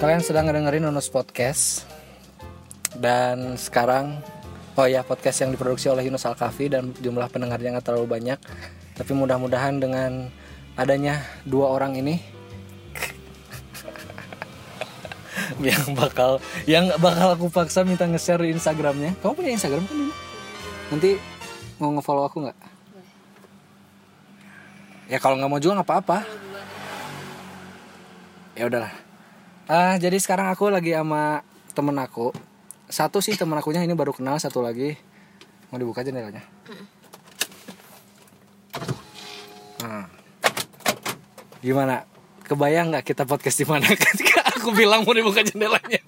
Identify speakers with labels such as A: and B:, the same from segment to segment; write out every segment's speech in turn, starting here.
A: Kalian sedang ngedengerin Yunus Podcast Dan sekarang Oh ya podcast yang diproduksi oleh Yunus Alkafi Dan jumlah pendengarnya nggak terlalu banyak Tapi mudah-mudahan dengan adanya dua orang ini Yang bakal Yang bakal aku paksa minta nge-share di Instagramnya Kamu punya Instagram kan Dina? Nanti mau nge-follow aku nggak? Ya kalau nggak mau juga nggak apa-apa ya udahlah ah jadi sekarang aku lagi sama temen aku satu sih temen akunya ini baru kenal satu lagi mau dibuka jendelanya nah. gimana kebayang nggak kita podcast di mana ketika aku bilang mau dibuka jendelanya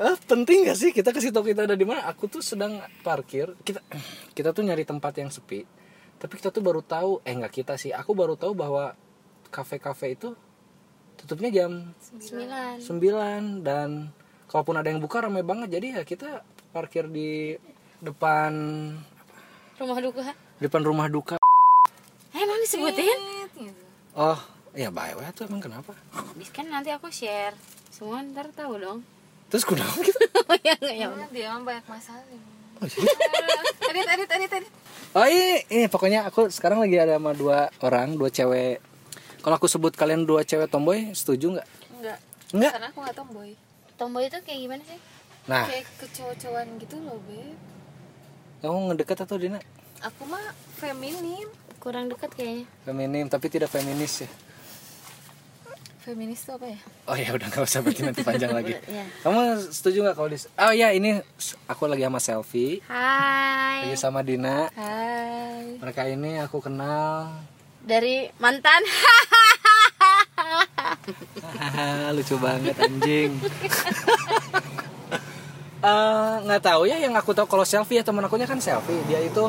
A: Eh, penting gak sih kita kasih tau kita ada di mana aku tuh sedang parkir kita kita tuh nyari tempat yang sepi tapi kita tuh baru tahu eh nggak kita sih aku baru tahu bahwa kafe-kafe itu tutupnya jam 9
B: Sembilan.
A: dan kalaupun ada yang buka ramai banget jadi ya kita parkir di depan
B: Rumah duka.
A: depan rumah duka
B: Eh, emang disebutin?
A: oh ya baik baik tuh emang kenapa
B: Bis kan nanti aku share. Semua ntar tahu dong.
A: terus kenapa kita
B: Oh ya enggak ya. udah.
C: dia emang banyak masalah
A: oh, jadi-
C: edit edit edit edit
A: oh ini, ini pokoknya aku sekarang lagi ada sama dua orang dua cewek kalau aku sebut kalian dua cewek tomboy setuju nggak
C: enggak
A: Enggak.
C: karena aku nggak tomboy
B: Tomboy itu kayak gimana sih?
A: nah
C: kayak kecowok-cowokan gitu loh beb
A: kamu ngedekat atau dina
C: aku mah feminim
B: Kurang dekat kayaknya.
A: feminim tapi tidak feminis ya
C: feminis tuh apa ya
A: Oh ya udah nggak usah bikin nanti panjang lagi.
B: Iya.
A: Kamu setuju nggak kalau di? Oh ya ini s- aku lagi sama selfie,
B: Hai.
A: lagi sama Dina.
C: hai
A: Mereka ini aku kenal.
B: Dari mantan.
A: Hahaha, lucu banget anjing. Eh, nggak tahu ya yang aku tahu kalau selfie ya teman akunya kan selfie dia itu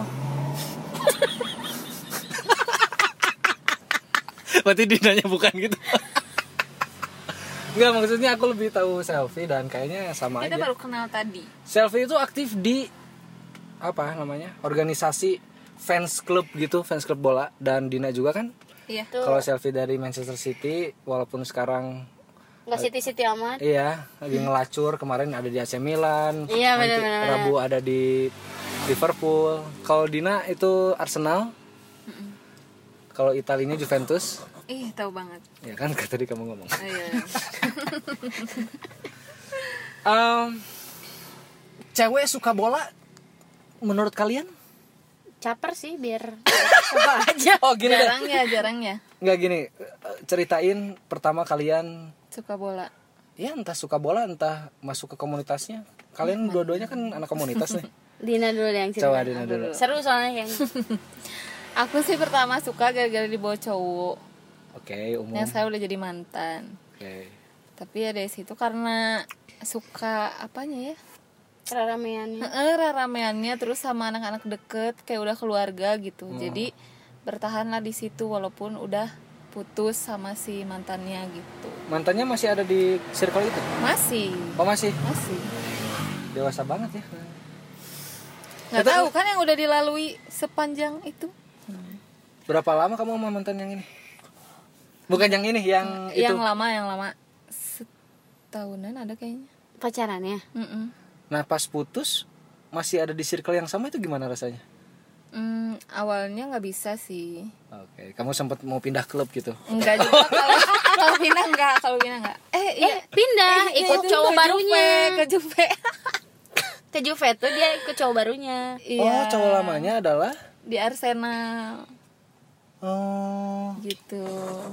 A: berarti dinanya bukan gitu nggak maksudnya aku lebih tahu selfie dan kayaknya sama
C: kita
A: aja
C: baru kenal tadi
A: Selfie itu aktif di apa namanya organisasi fans club gitu fans club bola dan Dina juga kan
C: iya
B: Tuh.
A: kalau selfie dari Manchester City walaupun sekarang
B: Enggak siti-siti amat.
A: iya lagi ngelacur kemarin ada di AC Milan
B: Iya,
A: nanti
B: benar-benar.
A: Rabu ada di Liverpool kalau Dina itu Arsenal kalau Italinya Juventus
C: ih tahu banget
A: ya kan tadi kamu ngomong
C: oh, iya.
A: Em, cewek suka bola menurut kalian
B: Caper sih biar apa aja.
A: oh gini deh
C: jarang ya jarang ya
A: nggak gini eh, ceritain pertama kalian
C: suka bola
A: ya entah suka bola entah masuk ke komunitasnya kalian
B: Iya.
A: dua-duanya kan anak komunitas nih
B: Dina dulu deh yang cerita.
A: Coba Dina dulu.
B: Seru soalnya yang
C: aku sih pertama suka gara-gara dibawa cowok
A: oke umum
C: yang
A: oke
C: saya udah jadi mantan tapi ya dari situ karena suka apanya ya
B: keramaiannya.
C: Heeh, rameannya terus sama anak-anak deket kayak udah keluarga gitu
A: Hmm.
C: jadi bertahanlah di situ walaupun udah putus sama si mantannya gitu
A: mantannya masih ada di circle itu
C: masih
A: oh masih
C: masih
A: dewasa banget ya
C: nggak tahu kan yang udah dilalui sepanjang itu
A: berapa lama kamu sama mantan yang ini bukan yang ini yang Hmm, itu
C: yang lama yang lama setahunan ada kayaknya
B: Pacarannya.
C: Mm-mm.
A: nah pas putus masih ada di circle yang sama itu gimana rasanya
C: Mm, awalnya nggak bisa sih
A: oke kamu sempat mau pindah klub gitu
C: Enggak juga kalau kalau pindah enggak, kalau pindah enggak. Eh,
B: Eh,
C: iya.
B: pindah ikut cowok
A: Iya.
B: barunya.
C: Ke Juve.
B: Ke Juve tuh dia ikut cowok barunya.
A: oh
C: Iya,
A: cowok lamanya adalah
C: di Arsenal
A: oh
C: gitu.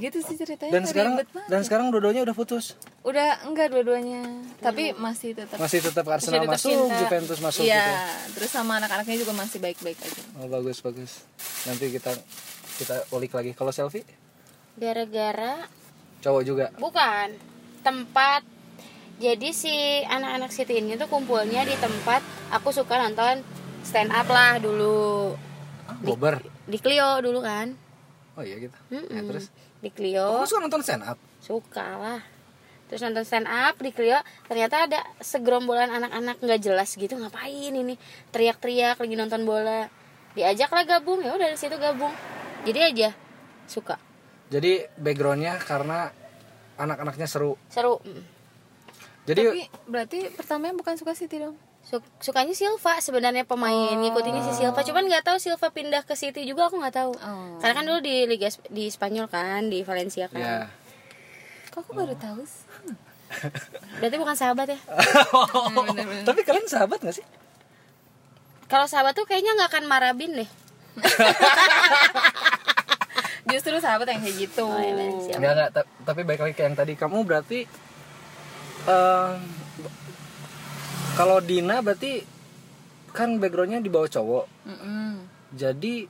C: Gitu sih ceritanya.
A: dan sekarang
C: ribet banget.
A: dan sekarang dua-duanya udah putus
C: udah enggak dua-duanya, tapi masih tetap
A: masih tetap Arsenal
C: tetap
A: masuk
C: cinta.
A: Juventus masuk
C: Iya,
A: gitu
C: terus sama anak-anaknya juga masih baik-baik aja.
A: oh, bagus bagus nanti kita kita ulik lagi kalau selfie
B: Gara-gara
A: cowok juga
B: Bukan tempat. Jadi si anak-anak City ini tuh kumpulnya di tempat aku suka nonton stand up lah dulu
A: bober
B: di Clio dulu kan.
A: oh iya gitu
B: Mm-mm.
A: Ya, terus
B: Di Clio
A: kamu suka nonton stand up
B: suka lah. Terus nonton stand up di Clio ternyata ada segerombolan anak-anak nggak jelas gitu ngapain ini teriak-teriak lagi nonton bola. Diajaklah gabung ya udah dari situ gabung. Jadi aja suka.
A: Jadi backgroundnya karena anak-anaknya seru.
B: seru mm.
A: Jadi
C: Tapi Eh, berarti pertamanya bukan suka City dong?
B: Su- sukanya Silva sebenarnya pemain ngikutinnya si Silva cuman nggak tahu Silva pindah ke City juga aku nggak tahu
C: Oh.
B: karena kan dulu di Liga Sp- di Spanyol kan di Valencia kan
A: ya.
C: Kok aku
A: Oh.
C: baru tahu sih?
B: berarti bukan sahabat ya
A: Tapi kalian sahabat gak sih?
B: kalau sahabat tuh kayaknya nggak akan marabin deh
C: Justru sahabat yang kayak gitu.
B: Oh, iya, bener sih.
A: Enggak enggak, ta- tapi baik lagi ke yang tadi kamu berarti em, kalau Dina berarti kan backgroundnya di bawah cowok.
C: Mm-mm.
A: Jadi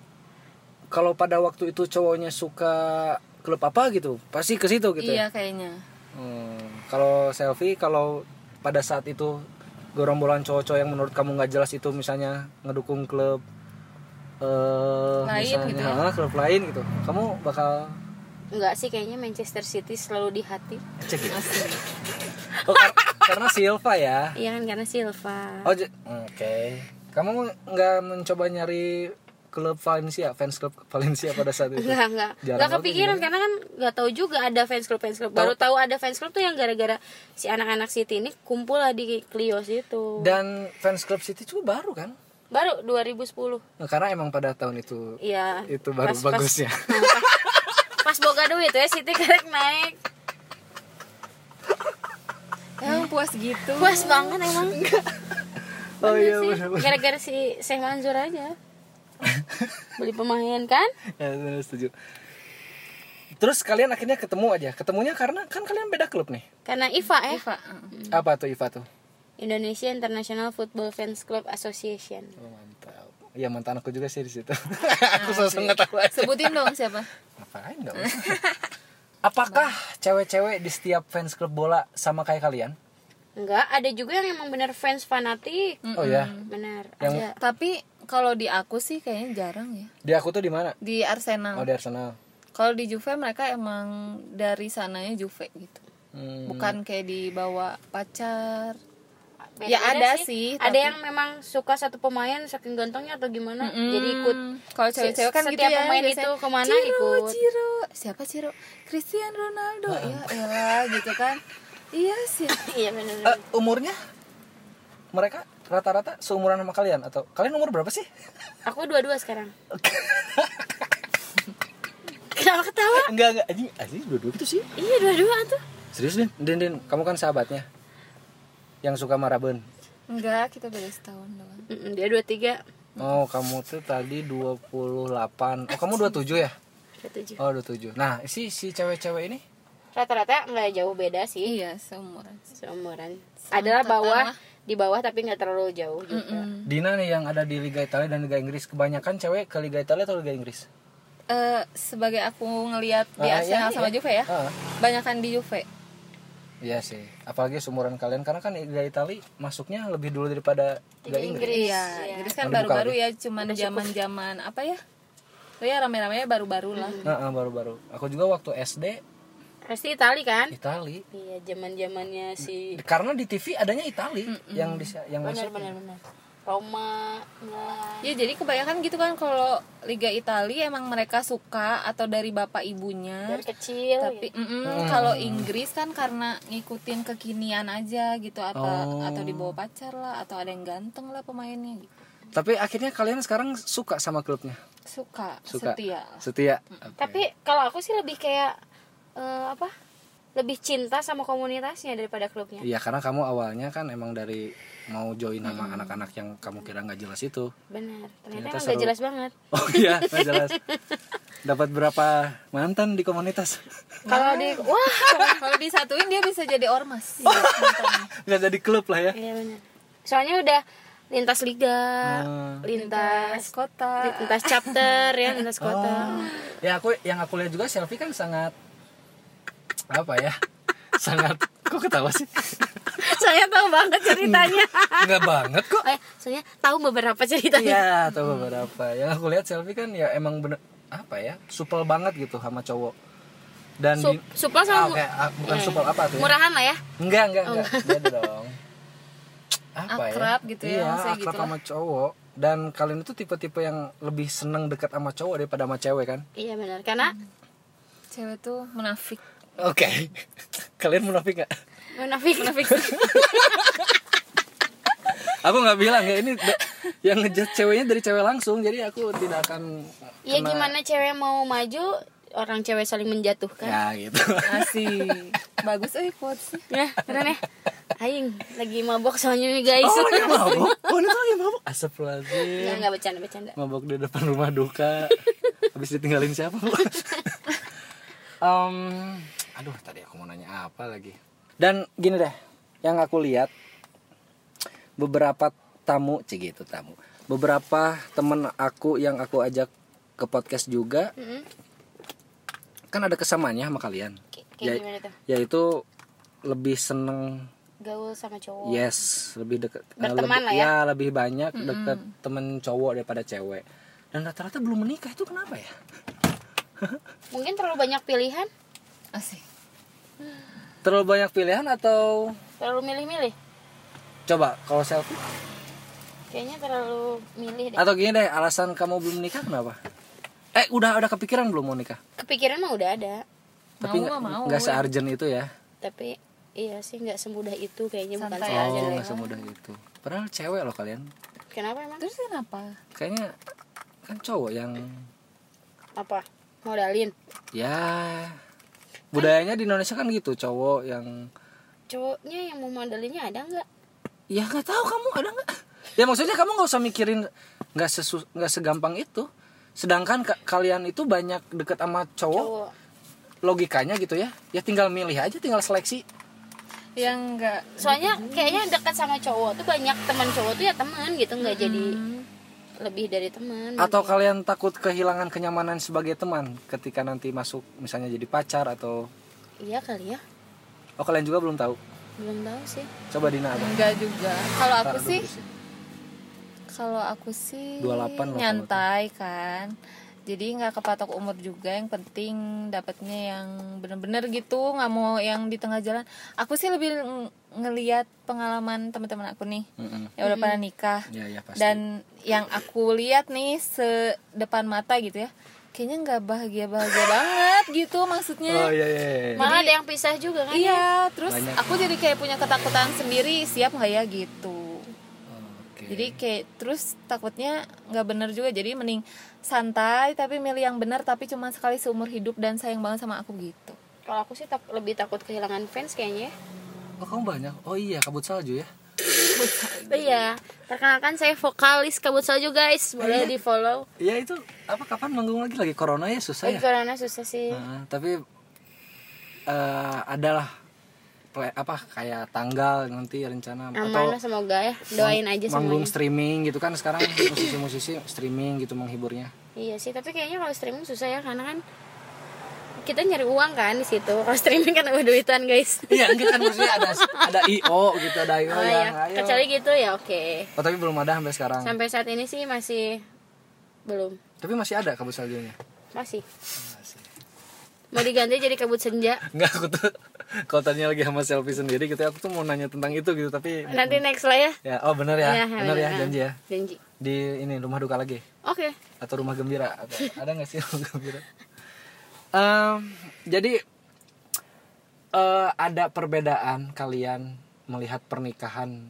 A: kalau pada waktu itu cowoknya suka klub apa gitu, pasti ke situ gitu. ya?
C: Iya kayaknya.
A: Hmm, kalau selfie kalau pada saat itu gerombolan cowok-cowok yang menurut kamu nggak jelas itu misalnya ngedukung klub eh
C: Lain
A: misalnya
C: gitu ya?
A: ah, klub lain gitu. Kamu bakal
B: nggak sih kayaknya Manchester City selalu di hati
A: cek ya? Oh, kar- karena Silva ya.
B: iya kan karena Silva
A: Oh, j- oke. Kamu nggak mencoba nyari klub Valencia, fans klub Valencia pada saat itu?
B: Enggak, enggak.
A: Jarang
B: Enggak
A: banget
B: kepikiran
A: gimana?
B: karena kan enggak tahu juga ada fans club fans club. Baru tahu ada fans club tuh yang gara-gara si anak-anak City ini kumpul lah di Clio situ.
A: Dan fans klub City juga baru kan?
B: Baru 2010.
A: Nah, karena emang pada tahun itu
B: Iya. Nah,
A: itu baru
B: Pas- pas-
A: bagusnya.
B: Pas boga duit ya City karek naik.
A: Eh.
C: Emang puas gitu.
B: Puas banget emang.
A: oh
B: Bener
A: iya
B: sih.
A: benar.
B: Gara-gara si Syekh Manzur aja. Beli pemain kan?
A: ya benar, setuju terus kalian akhirnya ketemu aja ketemunya karena kan kalian beda klub nih
B: Karena IFA ya.
C: Pak.
A: apa tuh Iva tuh
B: Indonesia International Football Fans Club Association.
A: oh, mantap Iya mantan aku juga sih di situ. aku sosok nggak tahu aja.
C: Sebutin dong siapa?
A: Ngapain nggak usah. Apakah cewek-cewek di setiap fans klub bola sama kayak kalian?
B: Enggak, ada juga yang emang bener fans fanatik.
A: Oh ya.
C: Hmm.
B: Benar,
A: Yang-
C: Iya.
B: ada.
C: Tapi kalau di aku sih kayaknya jarang ya.
A: Di aku tuh di mana?
C: Di
A: Oh
C: Arsenal.
A: di Arsenal.
C: Kalau di Juve mereka emang dari sananya Juve gitu.
A: Hmm,
C: Bukan kayak dibawa pacar.
B: Beda-beda
C: Ya, ada sih,
B: ada
C: tapi-
B: yang memang suka satu pemain saking gantengnya atau gimana jadi ikut
C: Kalau cewek-cewek kan
B: Hmm.
C: gitu
B: setiap
C: ya.
B: pemain
C: biasanya,
B: itu kemana
C: Ciro,
B: ikut
C: Ciro. Siapa Ciro? Cristiano Ronaldo. Ya elah gitu kan. Iya sih.
B: iya
A: eh,
B: benar
A: umurnya mereka rata-rata seumuran sama kalian atau kalian umur berapa sih?
B: aku dua-dua sekarang kenapa ketawa
A: enggak enggak anjing anjing dua-dua gitu sih.
B: iya dua-dua tuh
A: Serius Din? Din, Din, kamu kan sahabatnya yang suka maraben.
C: Enggak, kita beda setahun doang.
B: Mm-mm, dia dua tiga
A: Oh, kamu tuh tadi 28. Oh, kamu 27 ya?
B: dua tujuh
A: Oh, 27. Nah, si si cewek-cewek ini
B: rata-rata nggak jauh beda sih
C: Iya, seumuran.
B: seumuran adalah bawah di bawah tapi nggak terlalu jauh gitu. juga
A: Dina nih yang ada di Liga Italia dan Liga Inggris kebanyakan cewek ke Liga Italia atau Liga Inggris?
C: Eh, sebagai aku ngelihat di
A: Ah,
C: Arsenal
A: iya,
C: sama
A: iya.
C: Juve ya.
A: Ah.
C: Banyakan di Juve.
A: Iya sih. Apalagi seumuran kalian karena kan Liga Italia masuknya lebih dulu daripada Liga Inggris.
C: Iya, Inggris kan
A: Udah
C: baru-baru
A: buka
C: ya, cuman zaman-zaman apa ya? Oh ya rame-ramenya baru-baru lah.
A: Nah, ah, baru-baru. Aku juga waktu SD
B: pasti Itali kan
A: Itali.
B: iya zaman zamannya si
A: Karena di TV adanya Itali yang di, yang masuk.
B: benar-benar benar Roma Milan
C: Ya jadi kebanyakan gitu kan kalau Liga Italia emang mereka suka atau dari bapak ibunya.
B: dari kecil gitu.
C: Tapi mm-mm,
A: Hmm.
C: kalau Inggris kan karena ngikutin kekinian aja gitu
A: Oh.
C: atau atau dibawa pacar lah atau ada yang ganteng lah pemainnya gitu.
A: Tapi akhirnya kalian sekarang suka sama klubnya.
C: Suka,
A: Suka.
C: setia.
A: Setia.
B: Tapi kalau aku sih lebih kayak eh, apa? Lebih cinta sama komunitasnya daripada klubnya.
A: Iya karena kamu awalnya kan emang dari mau join sama anak-anak yang kamu kira nggak jelas itu.
B: Benar. Ternyata
A: Ternyata
B: emang
A: seru.
B: gak jelas banget.
A: Oh iya nggak jelas. Dapat berapa mantan di komunitas?
B: Kalau di wah,
C: kalau disatuin dia bisa jadi ormas.
A: Nggak jadi klub lah ya.
B: iya benar. Soalnya udah lintas liga,
A: Hmm.
B: lintas
C: Kota.
B: lintas chapter ya, lintas kota.
A: Ya aku yang aku lihat juga selfie kan sangat apa ya? Sangat kok ketawa sih?
B: Soalnya tahu banget ceritanya.
A: Nggak banget kok.
B: Oh, ya, soalnya tahu beberapa ceritanya.
A: Iya atau beberapa. Yang aku lihat selfie kan ya emang bener apa ya? Supel banget gitu sama cowok. Dan
B: Sup,
A: di- Ah,
B: supel sama Iya.
A: oke, ah, bukan supel apa tuh? ya?
B: murahan lah ya.
A: Enggak, enggak, enggak. Beda dong. Apa
C: Oh, Akrab gitu ya,
A: Iya,
C: maksudnya
A: akrab
C: gitu lah.
A: sama cowok. Dan kalian itu tipe-tipe yang lebih seneng dekat sama cowok daripada sama cewek kan?
B: Iya benar. Karena
C: cewek tuh munafik
A: Oke. Kalian munafik nggak?
B: Munafik. Munafik.
A: Aku nggak bilang ya ini da- yang ngejat ceweknya dari cewek langsung. Jadi aku tidak akan.
B: ya
A: kena-
B: gimana cewek mau maju orang cewek saling
C: Kan.
B: menjatuhkan.
A: Ya gitu.
C: asih bagus eh quotesnya
B: Ya, beneran ya. Aing lagi mabok soalnya nih guys.
A: Oh dia mabuk. Oh dia tuh lagi mabuk. Astagfirullahaladzim.
B: Enggak enggak bercanda bercanda.
A: mabok di depan rumah duka habis ditinggalin siapa Em, aduh tadi aku mau nanya apa lagi dan gini deh yang aku lihat beberapa tamu cik gitu tamu beberapa temen aku yang aku ajak ke podcast juga
B: Mm-mm.
A: kan ada kesamaannya sama kalian
B: Kayak
A: Ya-
B: gimana tuh?
A: yaitu lebih seneng
B: Gaul sama
A: Iya,
B: cowok.
A: Yes, lebih dekat eh,
B: Berteman lah
A: lebih,
B: ya.
A: lebih banyak dekat temen cowok daripada cewek. Dan rata-rata belum menikah itu kenapa ya?
B: Mungkin terlalu banyak pilihan,
C: asih
A: Terlalu banyak pilihan atau
B: terlalu milih-milih.
A: coba kalau selfie
B: Kayaknya terlalu milih deh.
A: atau gini deh, alasan kamu belum menikah kenapa? Eh, udah udah kepikiran belum mau nikah?
B: Kepikiran mah udah ada,
A: Tapi
C: Mau
A: nggak-
C: mah mau.
A: nggak se-urgent itu ya.
B: tapi iya sih nggak semudah itu kayaknya bukan
C: Santai
B: saya
C: aja
B: aja.
A: Oh, nggak semudah itu. Padahal cewek loh kalian.
B: Kenapa emang?
C: terus kenapa
A: Kayaknya kan cowok yang
B: Apa? Modalin.
A: ya budayanya di Indonesia kan gitu, cowok yang
B: Cowoknya yang mau modalinnya ada nggak?
A: ya nggak tahu kamu ada nggak ya maksudnya kamu nggak usah mikirin nggak sesu nggak segampang itu sedangkan ka- kalian itu banyak deket sama cowok,
B: Cowok.
A: logikanya gitu ya ya tinggal milih aja tinggal seleksi
C: yang enggak
B: Soalnya kayaknya dekat sama cowok tuh banyak teman cowok tuh ya teman gitu nggak jadi
C: Hmm.
B: lebih dari teman.
A: atau kalian takut kehilangan kenyamanan sebagai teman ketika nanti masuk misalnya jadi pacar atau
B: Iya kali ya.
A: oh kalian juga belum tahu
B: Belum tahu sih.
A: coba Dina apa
C: enggak juga kalau aku
A: Taruh
C: sih
A: dulu sih.
C: kalau aku sih
A: 28 lah
C: nyantai kan jadi nggak kepatok umur juga yang penting dapatnya yang bener-bener gitu nggak mau yang di tengah jalan aku sih lebih ng- ngeliat pengalaman teman-teman aku nih
A: Mm-mm.
C: ya udah pada nikah
A: Hmm. ya ya pasti
C: dan yang aku lihat nih sedepan mata gitu ya kayaknya nggak bahagia bahagia banget gitu
A: oh
C: maksudnya
A: iya iya, iya.
B: Malah ada yang pisah juga kan? ya?
C: iya terus
A: Banyak.
C: aku jadi kayak punya ketakutan sendiri siap nggak ya gitu
A: Oke.
C: jadi kayak terus takutnya nggak bener juga jadi mending santai tapi milih yang bener tapi cuma sekali seumur hidup dan sayang banget sama aku gitu
B: Kalau aku sih tak, lebih takut kehilangan fans kayaknya. ya.
A: oh kamu banyak oh iya kabut salju ya
B: Oh iya. Perkenalkan saya vokalis kabut salju guys. Boleh di follow.
A: ya itu apa kapan manggung lagi lagi corona ya susah
B: Lagi
A: ya
B: corona susah sih.
A: Heeh, tapi eh adalah ple- apa kayak tanggal nanti rencana
B: Aman
A: mang-
B: lah semoga ya. Doain aja
A: manggung
B: semuanya.
A: streaming gitu kan sekarang musisi-musisi streaming gitu menghiburnya
B: Iya sih, tapi kayaknya kalau streaming susah ya karena kan kita nyari uang kan di situ. Kalau streaming kan ada duitan guys.
A: iya enggak kan maksudnya ada ada io gitu ada io
B: Oh
A: yang
B: ya,
A: ayo.
B: kecuali gitu ya oke.
A: oh tapi belum ada sampai sekarang
B: Sampai saat ini sih masih belum.
A: tapi masih ada kabut saljunya
B: Masih. Mau diganti jadi kabut senja.
A: enggak aku tuh kalau tadinya lagi sama selfie sendiri gitu aku tuh mau nanya tentang itu gitu tapi
B: Nanti next lah ya.
A: ya oh bener ya,
B: Iya,
A: bener ya
B: bener.
A: janji ya
B: Janji.
A: di ini rumah duka lagi
B: Oke.
A: atau rumah gembira Atau- ada nggak sih rumah gembira Em, jadi eh, ada perbedaan kalian melihat pernikahan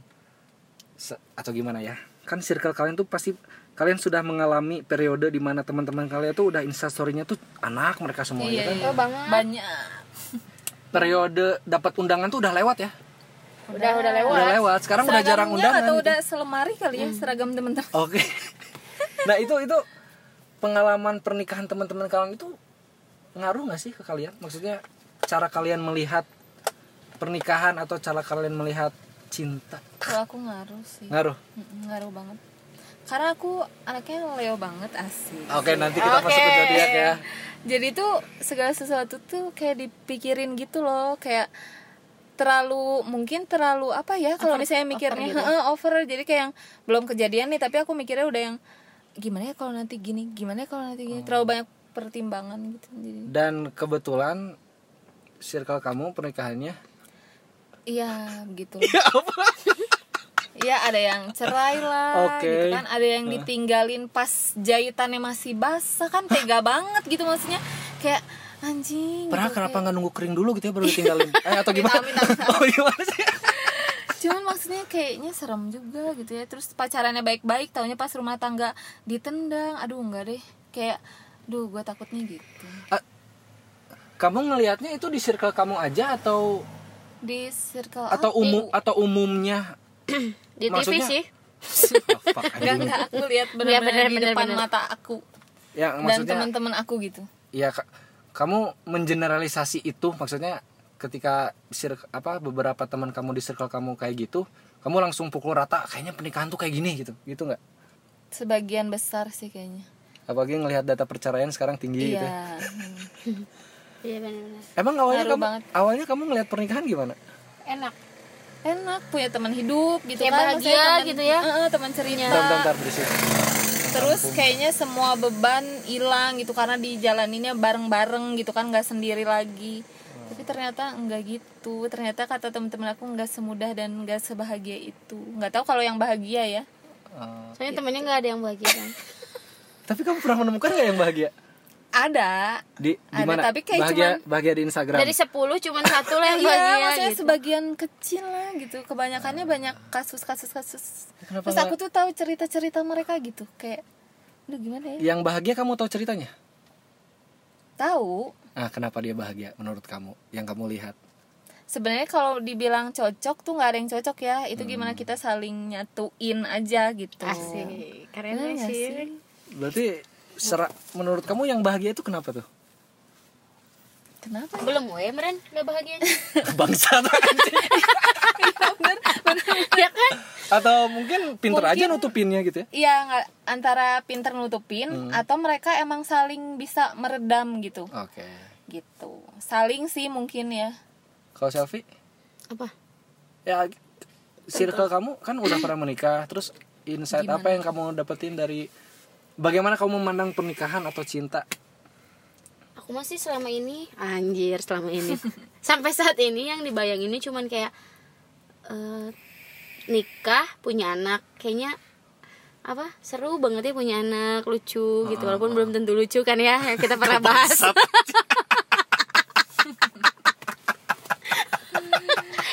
A: se- atau gimana ya kan circle kalian tuh pasti kalian sudah mengalami periode di mana teman-teman kalian tuh udah instastorynya tuh anak mereka semua ya
C: Iya,
A: kan
B: Oh, banget.
C: banyak
A: periode dapat undangan tuh udah lewat ya
B: Udah udah lewat.
A: udah lewat sekarang udah jarang
C: Seragamnya
A: undangan
C: atau
A: gitu.
C: udah selemari kali ya seragam temen-temen
A: Oke. nah itu itu pengalaman pernikahan teman-teman kalian itu ngaruh nggak sih ke kalian? Maksudnya cara kalian melihat pernikahan atau cara kalian melihat cinta
C: kalau aku ngaruh sih
A: ngaruh?
C: Mm-mm, ngaruh banget karena aku anaknya Leo banget asik
A: Oke nanti kita masuk ke zodiak ya.
C: jadi tuh segala sesuatu tuh kayak dipikirin gitu loh kayak terlalu mungkin terlalu apa ya kalau misalnya mikirnya over, over jadi kayak yang belum kejadian nih tapi aku mikirnya udah yang gimana ya kalau nanti gini gimana ya kalau nanti gini terlalu banyak pertimbangan gitu jadi
A: Dan kebetulan circle kamu pernikahannya
C: iya gitu Iya ada yang cerai lah,
A: Oke.
C: gitu kan. Ada yang ditinggalin pas jahitannya masih basah kan tega banget gitu maksudnya. Kayak anjing
A: Pernah
C: gitu.
A: kenapa nggak nunggu kering dulu gitu ya baru ditinggalin? Eh, atau gimana?
C: Minta, minta,
A: oh gimana sih?
C: cuman maksudnya kayaknya serem juga gitu ya terus pacarannya baik-baik taunya pas rumah tangga ditendang aduh enggak deh kayak duh gue takutnya gitu
A: Ah, Kamu ngelihatnya itu di circle kamu aja atau
C: di circle
A: atau
C: aku-
A: umum atau umumnya?
B: di
A: Maksudnya-
B: TV sih
A: Oh, fuck,
C: enggak
A: anjing.
C: enggak aku
B: Iya,
C: lihat benar-benar di
B: bener-bener,
C: depan
B: bener.
C: mata aku
A: ya
C: dan
A: maksudnya
C: teman-teman aku gitu
A: ya ka- kamu mengeneralisasi itu maksudnya ketika sir- apa beberapa teman kamu di circle kamu kayak gitu, kamu langsung pukul rata kayaknya pernikahan tuh kayak gini gitu. Gitu nggak?
C: sebagian besar sih kayaknya
A: Apalagi ngelihat data perceraian sekarang tinggi gitu. ya.
C: iya
B: iya benar-benar
A: Emang awalnya
C: Ngaruh
A: kamu
C: banget.
A: awalnya kamu ngelihat pernikahan gimana?
B: enak
C: enak punya teman hidup gitu
B: Kayak
C: kan
B: bahagia
C: maksudnya teman-
B: gitu ya.
C: Heeh, teman cerita
A: Bentar, bentar, bentar, berisik.
C: terus kayaknya semua beban hilang gitu karena dijalaninnya bareng-bareng gitu kan nggak sendiri lagi tapi ternyata enggak gitu ternyata kata teman-teman aku nggak semudah dan nggak sebahagia itu nggak tahu kalau yang bahagia ya
A: Eh,
B: soalnya
C: Iya.
B: temennya nggak ada yang bahagia kan
A: tapi kamu pernah menemukan gak yang bahagia?
C: ada
A: Di, di
C: Ada,
A: mana?
C: tapi kayak
A: bahagia, bahagia di Instagram.
B: dari 10 cuman satu lah yang
C: Iya,
B: bahagia
C: maksudnya
B: gitu.
C: sebagian kecil lah gitu. Kebanyakannya banyak kasus-kasus kasus.
A: Kenapa
C: Terus
A: nggak-
C: aku tuh tahu cerita-cerita mereka gitu, kayak aduh gimana ya?
A: Yang bahagia kamu tahu ceritanya?
C: Tahu.
A: Ah, kenapa dia bahagia menurut kamu? Yang kamu lihat?
C: Sebenarnya kalau dibilang cocok tuh nggak ada yang cocok ya. Itu gimana kita saling nyatuin aja gitu.
B: asik keren
C: Bener nggak
B: sih
C: sih?
A: Berarti sera- menurut kamu yang bahagia itu kenapa tuh?
C: Kenapa?
B: belum gue meren udah bahagia
A: Bangsat anjing.
B: ya kan
A: Atau mungkin pinter aja nutupinnya gitu ya?
C: Iya, nggak antara pinter nutupin atau mereka emang saling bisa meredam gitu.
A: Oke.
C: Gitu. Saling sih mungkin ya.
A: Kalau selfie?
B: apa
A: Ya, circle kamu kan udah pernah menikah. Terus insight apa yang kamu dapetin dari bagaimana kamu memandang pernikahan atau cinta?
B: aku masih selama ini anjir selama ini sampai saat ini yang dibayanginnya cuman kayak eh, nikah punya anak kayaknya apa seru banget ya punya anak lucu gitu
C: Ah,
B: walaupun belum tentu lucu kan ya yang kita pernah bahas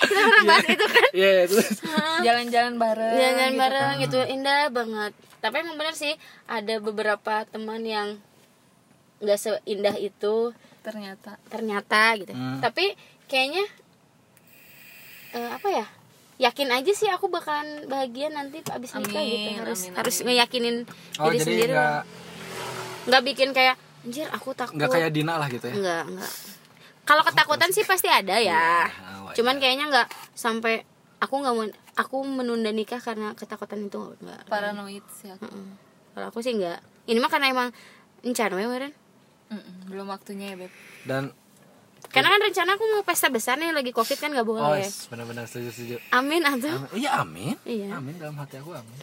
B: kita pernah bahas itu kan
A: Iya, itu.
C: Ah. Jalan-jalan bareng.
B: jalan
A: kan.
B: bareng gitu indah banget tapi emang bener sih ada beberapa teman yang nggak seindah itu
C: Ternyata
B: ternyata gitu
A: Hmm.
B: tapi kayaknya eh, apa ya yakin aja sih aku bakalan bahagia nanti abis nikah
C: Amin,
B: gitu harus
C: amin,
B: harus ngeyakinin
A: Oh,
B: diri
A: jadi
B: sendiri
A: nggak
B: nggak bikin kayak anjir aku takut
A: nggak kayak Dina lah gitu ya?
B: nggak nggak kalau ketakutan sih pasti ada ya
A: Iya, wajar.
B: cuman kayaknya nggak sampai aku nggak mau aku menunda nikah karena ketakutan itu nggak
C: paranoid sih aku.
B: Mm. kalau aku sih nggak ini mah karena emang rencana ya Maren.
C: Mm-mm, belum waktunya ya, Beb.
A: Dan
B: karena kan rencana aku mau pesta besar nih lagi covid kan nggak
A: oh,
B: boleh
A: benar-benar setuju setuju.
B: amin atuh
A: Amin. Iya amin.
B: Iya.
A: Amin dalam hati aku amin.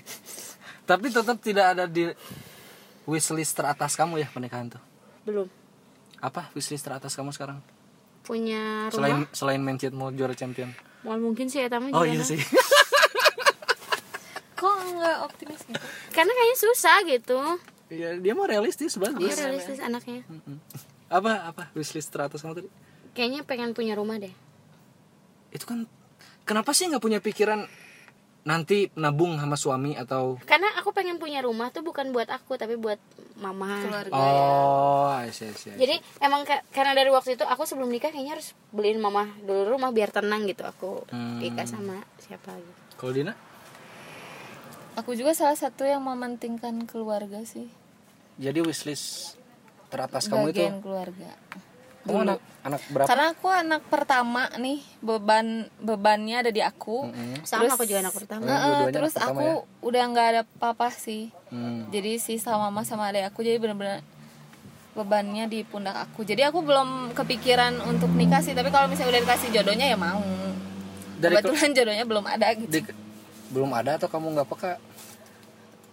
A: Tapi tetap tidak ada di wishlist teratas kamu ya pernikahan tuh.
B: belum
A: Apa wishlist teratas kamu sekarang?
B: punya
A: Selain
B: rumah
A: selain Manchester mau juara champion.
B: mal mungkin sih ya tamu
A: Oh iya sih.
C: Kok nggak optimis gitu?
B: karena kayaknya susah gitu
A: Iya, dia mau realistis
B: dia
A: bagus.
B: realistis anaknya
A: Mm-mm. Apa apa wishlist teratas kamu tadi?
B: kayaknya pengen punya rumah deh
A: Itu kan kenapa sih nggak punya pikiran nanti nabung sama suami atau
B: karena aku pengen punya rumah tuh bukan buat aku tapi buat mama
C: Keluarga.
A: Oh, I see, I see, I see.
B: jadi emang ke- karena dari waktu itu aku sebelum nikah kayaknya harus beliin mama dulu rumah biar tenang gitu aku
A: Hmm.
B: nikah sama siapa gitu
A: Kalau Dina?
C: Aku juga salah satu yang mementingkan keluarga sih.
A: Jadi wishlist teratas kamu itu
C: Bagian keluarga.
A: kamu anak anak berapa?
C: Karena aku anak pertama nih, beban bebannya ada di aku.
B: sama
C: Terus-
B: aku juga anak pertama
A: Oh,
C: Heeh,
A: dua-duanya anak
C: terus
A: pertama ya?
C: aku udah nggak ada papa sih.
A: Hmm.
C: Jadi si sama mama sama adek aku jadi bener-bener bebannya di pundak aku. Jadi aku belum kepikiran untuk nikah sih, tapi kalau misalnya udah dikasih jodohnya ya mau.
A: Dari ke-
C: Kebetulan jodohnya belum ada gitu.
A: di- belum ada atau kamu nggak peka?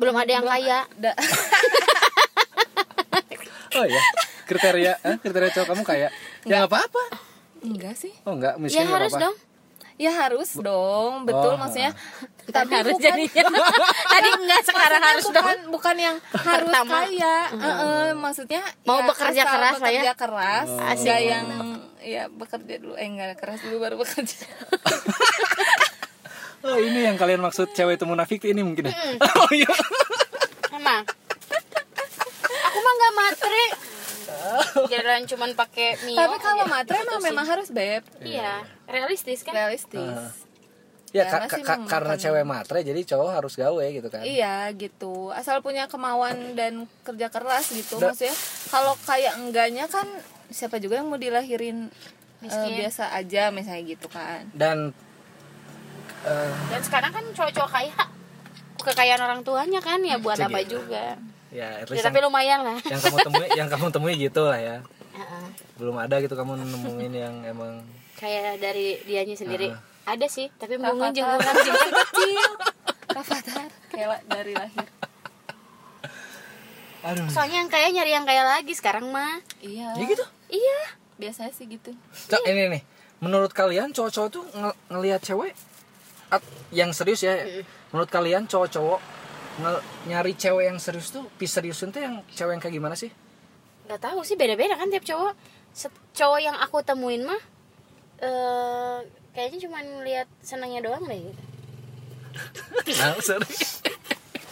B: belum ada yang kaya
C: Da-
A: Oh iya. Kriteria, eh, kriteria cowok kamu kayak ya nggak apa-apa.
C: Enggak sih.
A: Oh nggak,
B: ya
A: miskin nggak
B: harus
A: apa-apa.
B: dong
C: ya harus dong betul
A: Oh.
C: maksudnya
B: Ntar
C: tapi
B: harus
C: bukan
B: jadinya tadi enggak sekarang
C: maksudnya
B: harus
C: bukan
B: dong
C: bukan yang harus
B: Kan? Pertama.
C: kaya Eh, eh, maksudnya
B: Mau bekerja
C: asal
B: keras lah ya.
C: bekerja keras
B: Asik.
C: nggak yang ya bekerja dulu eh enggak keras dulu baru bekerja
A: Oh ini yang kalian maksud cewek itu munafik ini mungkin ya? Oh iya.
B: emang aku mah nggak matre jalan cuman pakai mio
C: tapi kalau
B: aja.
C: matre mah
B: Gitu sih.
C: memang harus beb
B: iya realistis kan
C: realistis
A: Ya, ka-
C: Ya, masih
A: ka- karena
C: memakan.
A: cewek matre jadi cowok harus gawe gitu kan.
C: Iya gitu, asal punya kemauan dan kerja keras gitu
A: Da-
C: maksudnya. Kalau kayak enggaknya kan siapa juga yang mau dilahirin eh,
B: Miskin.
C: biasa aja misalnya gitu kan.
A: Dan eh,
B: dan sekarang kan cowok-cowok kaya kekayaan orang tuanya kan ya buat
A: Cek
B: apa
A: gitu.
B: juga
A: ya at
B: ya,
A: least
B: tapi
A: yang,
B: lumayan lah
A: yang kamu temui yang kamu temui gitu lah ya.
B: Heeh.
A: Belum ada gitu kamu nemuin yang emang
B: kayak dari dianya sendiri ada sih tapi
C: Rafathar.
B: mungkin jenggotan jenggotan kecil
C: Rafathar kayak la- dari lahir.
A: aduh.
B: soalnya yang kaya nyari yang kaya lagi sekarang mah
C: Iya.
A: Ya gitu.
B: iya
C: Biasanya sih gitu.
A: Cok, ini nih. Menurut kalian cowok-cowok tuh nge- ngelihat cewek at- yang serius ya. Menurut kalian cowok-cowok nge- nyari cewek yang serius tuh piseriusin tuh yang cewek yang kayak gimana sih?
B: nggak tahu sih beda-beda kan tiap cowok Set- cowok yang aku temuin mah eh kayaknya cuma lihat senangnya doang deh gitu.
A: Nah, serius.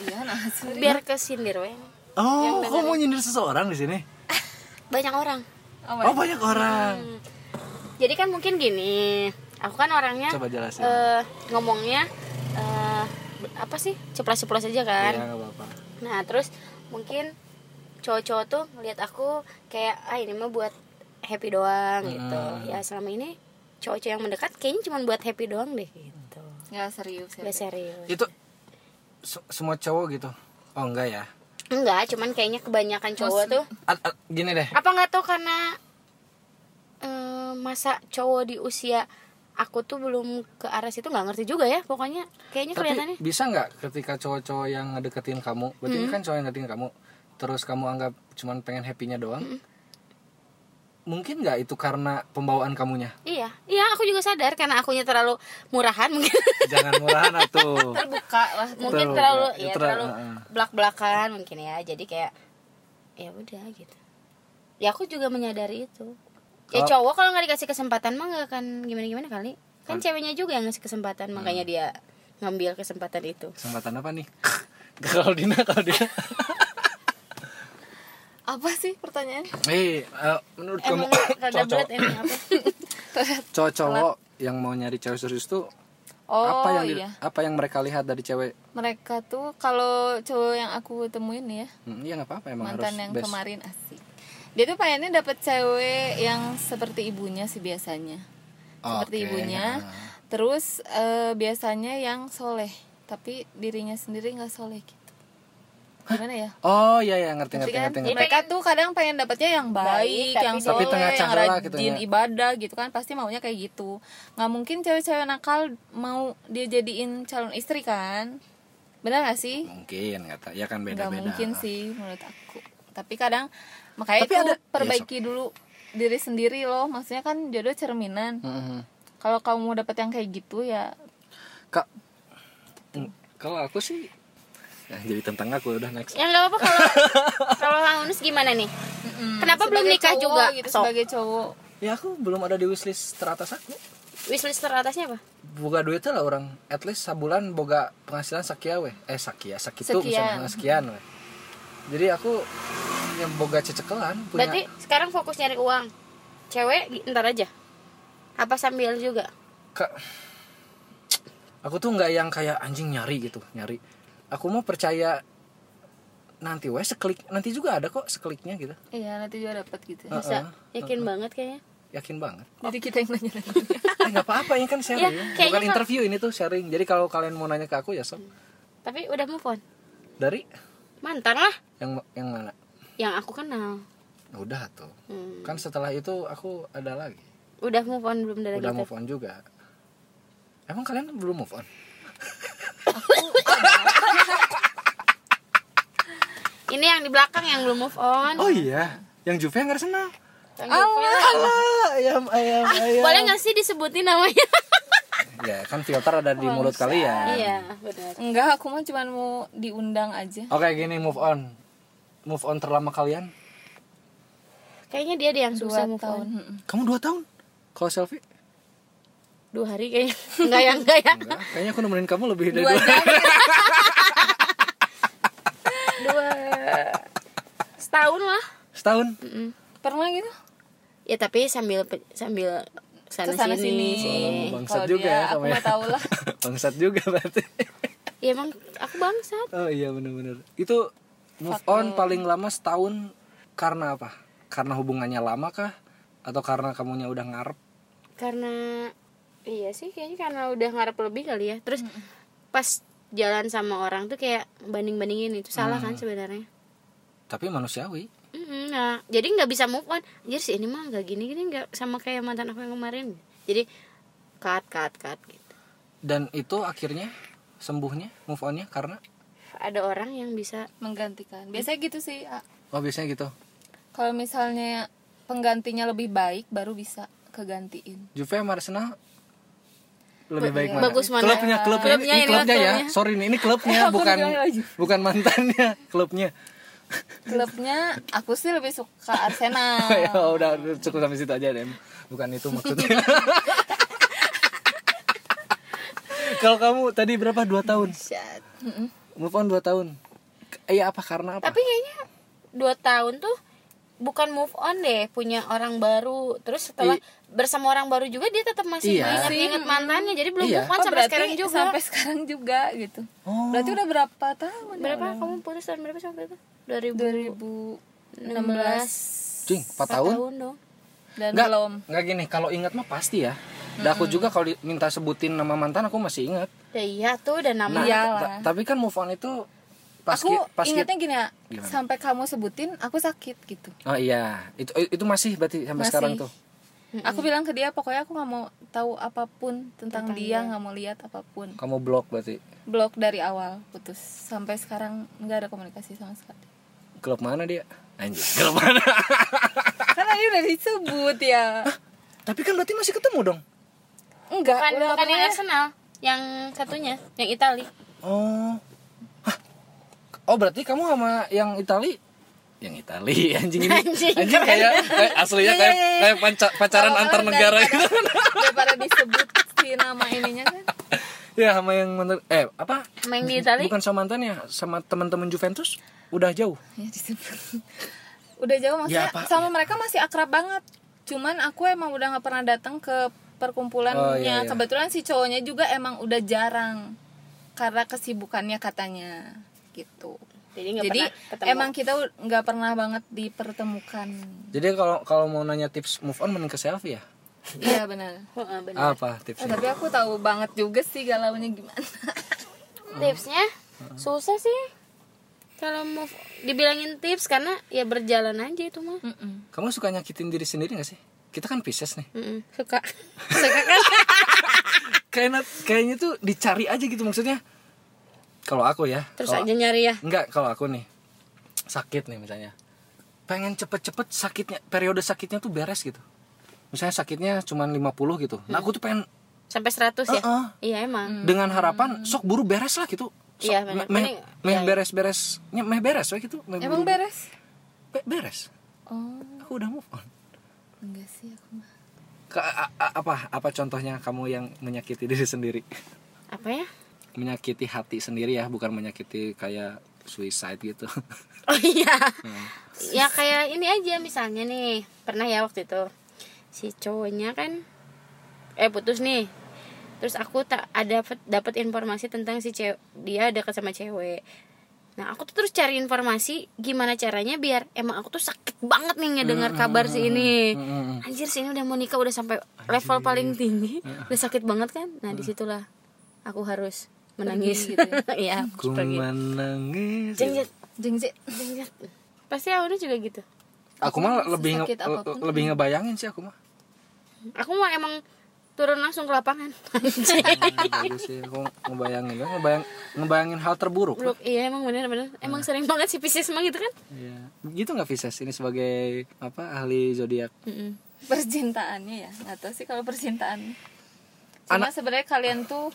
C: Iya nah sih.
B: biar kesindir we
A: Oh, kamu mau nyindir seseorang di sini?
B: banyak orang
C: Oh, my
A: Oh, banyak orang.
B: jadi kan mungkin gini aku kan orangnya
A: Coba jelasin.
B: eh, ngomongnya eh, apa sih ceplas-ceplos aja kan
A: Iya, nggak apa-apa.
B: Nah terus mungkin cowok-cowok tuh ngeliat aku kayak ah ini mah buat happy doang
A: Hmm.
B: gitu. Ya selama ini cowok-cowok yang mendekat kayaknya cuma buat happy doang deh gitu.
C: Nggak serius.
B: Gak
C: serius.
B: serius.
A: Itu se- semua cowok gitu. Oh, enggak ya.
B: Enggak, cuman kayaknya kebanyakan cowok
C: Mostly.
B: tuh
A: At- at- gini deh.
B: apa nggak tau karena eh, masa cowok di usia aku tuh belum ke arah situ nggak ngerti juga ya pokoknya kayaknya
A: Tapi
B: kelihatannya
A: bisa nggak ketika cowok-cowok yang ngedeketin kamu, berarti ini kan cowok yang ngedeketin kamu, terus kamu anggap cuman pengen happy-nya doang? Mungkin nggak itu karena pembawaan kamunya?
B: iya iya aku juga sadar karena akunya terlalu murahan mungkin
A: Jangan murahan atuh.
C: Terbuka lah.
B: mungkin
A: Terlalu-
B: terlalu
A: ya,
B: ya
A: terlalu-
B: terlalu
A: heeh.
B: belak belakan mungkin ya jadi kayak ya udah gitu ya aku juga menyadari itu
A: Oh.
B: ya cowok kalau nggak dikasih kesempatan mah nggak akan gimana gimana kali kan ceweknya juga yang ngasih kesempatan makanya
A: Hmm.
B: dia ngambil kesempatan itu
A: Kesempatan apa nih? kalau Dina, kalau Dina.
C: Apa sih pertanyaan?
A: Hei, eh, menurut kamu
B: emang rada berat
C: ya?
A: cowok-cowok
B: emang apa
A: cowok-cowok yang mau nyari cewek serius tuh
C: Oh
A: apa yang di-
C: iya.
A: apa yang mereka lihat dari cewek?
C: Mereka tuh kalau cowok yang aku temuin nih ya
A: Hmm, iya nggak apa-apa emang
C: mantan
A: harus
C: yang
A: best.
C: kemarin asik dia tuh pengennya dapet cewek yang seperti ibunya sih biasanya seperti
A: Oke.
C: ibunya terus eh, biasanya yang soleh tapi dirinya sendiri nggak soleh gitu gimana ya
A: Oh iya iya ngerti
C: Tapi
A: ngerti
C: kan
A: ngerti. ngerti.
C: mereka tuh kadang pengen dapatnya yang baik,
B: Baik, tapi
C: yang
B: dia-
A: Tapi
C: soleh,
A: tengah
C: yang
A: cahaya
C: rajin
A: gitu ya.
C: ibadah gitu kan pasti maunya kayak gitu. Nggak mungkin cewek-cewek nakal mau dia jadiin calon istri kan? Benar gak sih?
A: Mungkin nggak tahu. ya kan
C: nggak
A: beda-beda.
C: mungkin sih menurut aku tapi kadang makanya
A: Tapi
C: itu
A: ada- iya,
C: perbaiki dulu diri sendiri loh maksudnya kan jodoh cerminan
A: Mhm.
C: kalau kamu mau dapet yang kayak gitu ya
A: Kak, mm, kalau aku sih nah, jadi tentang aku udah next.
B: ya nggak apa kalau kalau Launus gimana nih kenapa belum
C: Sebagai
B: nikah
C: cowok
B: juga
C: gitu
B: Sok.
C: sebagai cowok
A: Ya aku belum ada di wishlist teratas aku.
B: wishlist teratasnya apa
A: Boga duitnya lah orang. At least sabulan boga penghasilan sakia we. Eh sakia, sakitu
C: Sekian.
A: misalnya sekian we. Jadi aku yang boga cecekelan punya
B: berarti sekarang fokus nyari uang cewek di- ntar aja apa sambil juga
A: Kak, aku tuh nggak yang kayak anjing nyari gitu nyari aku mau percaya nanti weh seklik nanti juga ada kok sekeliknya gitu
C: iya nanti juga dapet gitu
A: Eh,
C: ya.
A: Ah,
B: masa yakin banget kayaknya
A: yakin banget
C: jadi kita yang nanya
A: eh nggak apa-apa ini kan
C: Iya,
A: sharing
B: Ya, kayaknya
A: bukan
B: kalau-
A: interview ini tuh sharing jadi kalau kalian mau nanya ke aku ya sob
B: tapi udah move on
A: dari
B: mantan lah
A: yang yang mana Ya
B: yang aku kenal
A: udah tuh
B: Hmm.
A: kan setelah itu aku ada lagi
B: udah move on belum dari
A: udah
B: gitu
A: move on juga emang kalian belum move on
B: ini yang di belakang yang belum move on
A: oh iya yang Juve yang Arsenal
B: Yang di depan.
A: Allah ayam ayam ayam
B: boleh nggak sih disebutin namanya
A: ya kan filter ada di mulut kalian
B: iya benar
C: Enggak, aku mah cuma mau diundang aja.
A: oke gini move on move on terlama kalian
B: kayaknya dia dia yang
C: Dua
B: susah move
C: tahun.
B: on
C: Mm-mm.
A: kamu dua tahun kalau selfie
B: dua hari kayaknya nggak ya nggak ya
A: Enggak, kayaknya aku nemenin kamu lebih dari
C: Dua
A: dua
C: jam.
B: dua setahun lah
A: setahun
B: Mm-mm.
C: Pernah gitu?
B: ya tapi sambil pe- sambil sana,
C: Kesana
B: sini.
C: sini.
A: bangsat
C: Kalau
A: juga
C: dia,
A: ya
C: aku
A: kamu ya
C: nggak tahu lah.
A: bangsat juga berarti
B: ya emang aku bangsat
A: oh iya bener-bener itu move on paling lama setahun karena apa karena hubungannya lama kah atau karena kamunya udah ngarep
B: karena iya sih kayaknya karena udah ngarep lebih kali ya terus pas jalan sama orang tuh kayak banding bandingin itu salah kan sebenarnya
A: tapi manusiawi
B: Mm-mm, nah jadi nggak bisa move on jadi sih ini mah nggak gini gini nggak sama kayak mantan aku yang kemarin jadi cut cut cut gitu
A: dan itu akhirnya sembuhnya move onnya karena
B: ada orang yang bisa
C: Menggantikan. Biasanya gitu sih. A.
A: oh biasanya gitu
C: Kalau misalnya penggantinya lebih baik baru bisa kegantiin.
A: Juve sama Arsenal lebih baik mana?
B: Bagus mana?
A: Klubnya, klubnya, Ini-
B: Klubnya,
A: ini,
B: ini
A: klubnya ya.
B: klubnya.
A: Sorry nih, ini klubnya
C: Aku
A: bukan
C: bilang lagi.
A: bukan mantannya, klubnya.
C: Klubnya aku sih lebih suka Arsenal.
A: ya udah udah, cukup sampai situ aja deh. Bukan itu maksudnya. Kalau kamu tadi berapa? Dua tahun.
C: Hmm.
A: Move on dua tahun. Iya apa karena apa?
B: tapi kayaknya dua tahun tuh bukan move on deh punya orang baru terus setelah
A: I-
B: bersama orang baru juga dia tetap masih
A: Iya.
B: ingat ingat mantannya jadi belum
A: Iya.
B: move on
C: Oh,
B: sampai
C: berarti
B: sekarang juga
C: Sampai sekarang juga gitu.
A: Oh.
C: Berarti udah berapa tahun? ya?
B: berapa kamu putus tahun berapa sampai itu 2000
C: 2016
A: Cing, empat
B: tahun,
A: tahun.
B: dong
C: dan
A: Nggak,
C: belum.
A: nggak gini, kalau ingat mah pasti ya. Dan aku juga kalau di- minta sebutin nama mantan aku masih ingat.
B: ya iya tuh dan nama
A: Nah,
C: Iyalah.
A: ta- tapi kan move on itu pas
C: aku
A: ki- pas ki-
C: ingatnya gini ya,
A: Gimana?
C: sampai kamu sebutin aku sakit gitu.
A: Oh iya, itu itu masih berarti sampai
C: Masih.
A: sekarang tuh.
C: Aku bilang ke dia pokoknya aku nggak mau tahu apapun tentang, dia, nggak mau lihat apapun.
A: Kamu blok berarti.
C: Blok dari awal putus sampai sekarang nggak ada komunikasi sama sekali.
A: Klub mana dia? Anjir, klub mana?
C: Kan tadi udah disebut ya.
A: Tapi kan berarti masih ketemu dong.
C: Enggak,
B: bukan
C: udah
B: bukan yang
C: pernah.
B: Arsenal yang satunya yang Itali
A: Oh. Hah. Oh, berarti kamu sama yang Itali yang Itali anjing ini
B: Anjing, Iya,
A: anjing kayak kayak aslinya kayak kayak panca-
B: Oh,
A: pacaran
C: Kalau
A: antar
C: orang
A: negara gitu
C: daripada- Daripada disebut si nama ininya kan.
A: ya sama yang mantan- eh apa
B: sama yang di Itali
A: bukan sama mantannya sama teman-teman Juventus udah jauh
C: Ya disebut. Udah jauh
A: Ya,
C: maksudnya
A: apa-
C: sama mereka masih akrab banget. Cuman aku emang udah nggak pernah datang ke perkumpulannya.
A: Oh, iya, iya.
C: Kebetulan si cowoknya juga emang udah jarang karena kesibukannya katanya gitu.
B: jadi nggak
C: Jadi
B: pernah ketemu
C: emang kita u- nggak pernah banget dipertemukan.
A: jadi kalau kalau mau nanya tips move on mending ke selfie ya
C: Iya benar.
B: Heeh, bener.
A: apa
C: Oh,
A: tipsnya
C: tapi aku tahu banget juga sih galaunya gimana.
B: tipsnya susah sih kalau move dibilangin tips karena ya berjalan aja itu mah
C: Mm-mm.
A: kamu suka nyakitin diri sendiri gak sih kita kan Pisces nih
B: Mm-mm, suka suka kan
A: kayaknya kayaknya tuh dicari aja gitu maksudnya kalau aku ya
B: terus
A: kalau-
B: aja nyari ya
A: enggak kalau aku nih sakit nih misalnya pengen cepet-cepet sakitnya periode sakitnya tuh beres gitu misalnya sakitnya cuma 50 gitu nah aku tuh pengen
B: sampai 100 ya
A: Heeh.
B: iya emang
A: dengan harapan sok buru beres lah gitu Sok
B: Iya,
A: meh
B: bener.
A: meh-
B: Mending-
A: meh
B: iya, iya.
A: beres-beres Nye- meh beres lah gitu meh
C: Emang
A: buru-
C: beres?
A: Be- beres
C: Oh,
A: aku udah move on
C: enggak sih aku mah.
A: Ke- a- a- apa apa contohnya kamu yang menyakiti diri sendiri
B: apa ya
A: menyakiti hati sendiri ya bukan menyakiti kayak suicide gitu
B: oh iya
C: Hmm.
B: ya kayak ini aja misalnya nih pernah ya waktu itu si cowoknya kan eh putus nih terus aku tak ada dapat informasi tentang si cewek dia dekat sama cewek nah aku tuh terus cari informasi gimana caranya biar emang aku tuh sakit banget nih ngedengar
C: Hmm,
B: kabar si ini anjir si ini udah mau nikah udah sampai level paling tinggi
C: Hmm,
B: udah sakit banget kan nah disitulah aku harus menangis
C: gitu ya.
B: Iya, aku
A: ku
B: harus pergi.
A: menangis
B: Jeng, jeng.
C: Jengsi.
B: Iya. Pasti awalnya juga gitu.
A: aku mah lebih nge-
C: sesakit apapun.
A: le- lebih ngebayangin sih aku mah
B: Aku mah emang turun langsung ke lapangan. Anjing.
A: bagus sih aku ngebayangin ya, ngebayang ngebayangin hal terburuk
B: Blok. Iya emang bener-bener. Emang sering banget sih Pisces emang gitu kan?
A: Iya. gitu nggak Pisces ini sebagai apa ahli zodiak
B: Mm-mm.
C: percintaannya ya nggak tahu sih kalau percintaan Cuma sebenarnya kalian tuh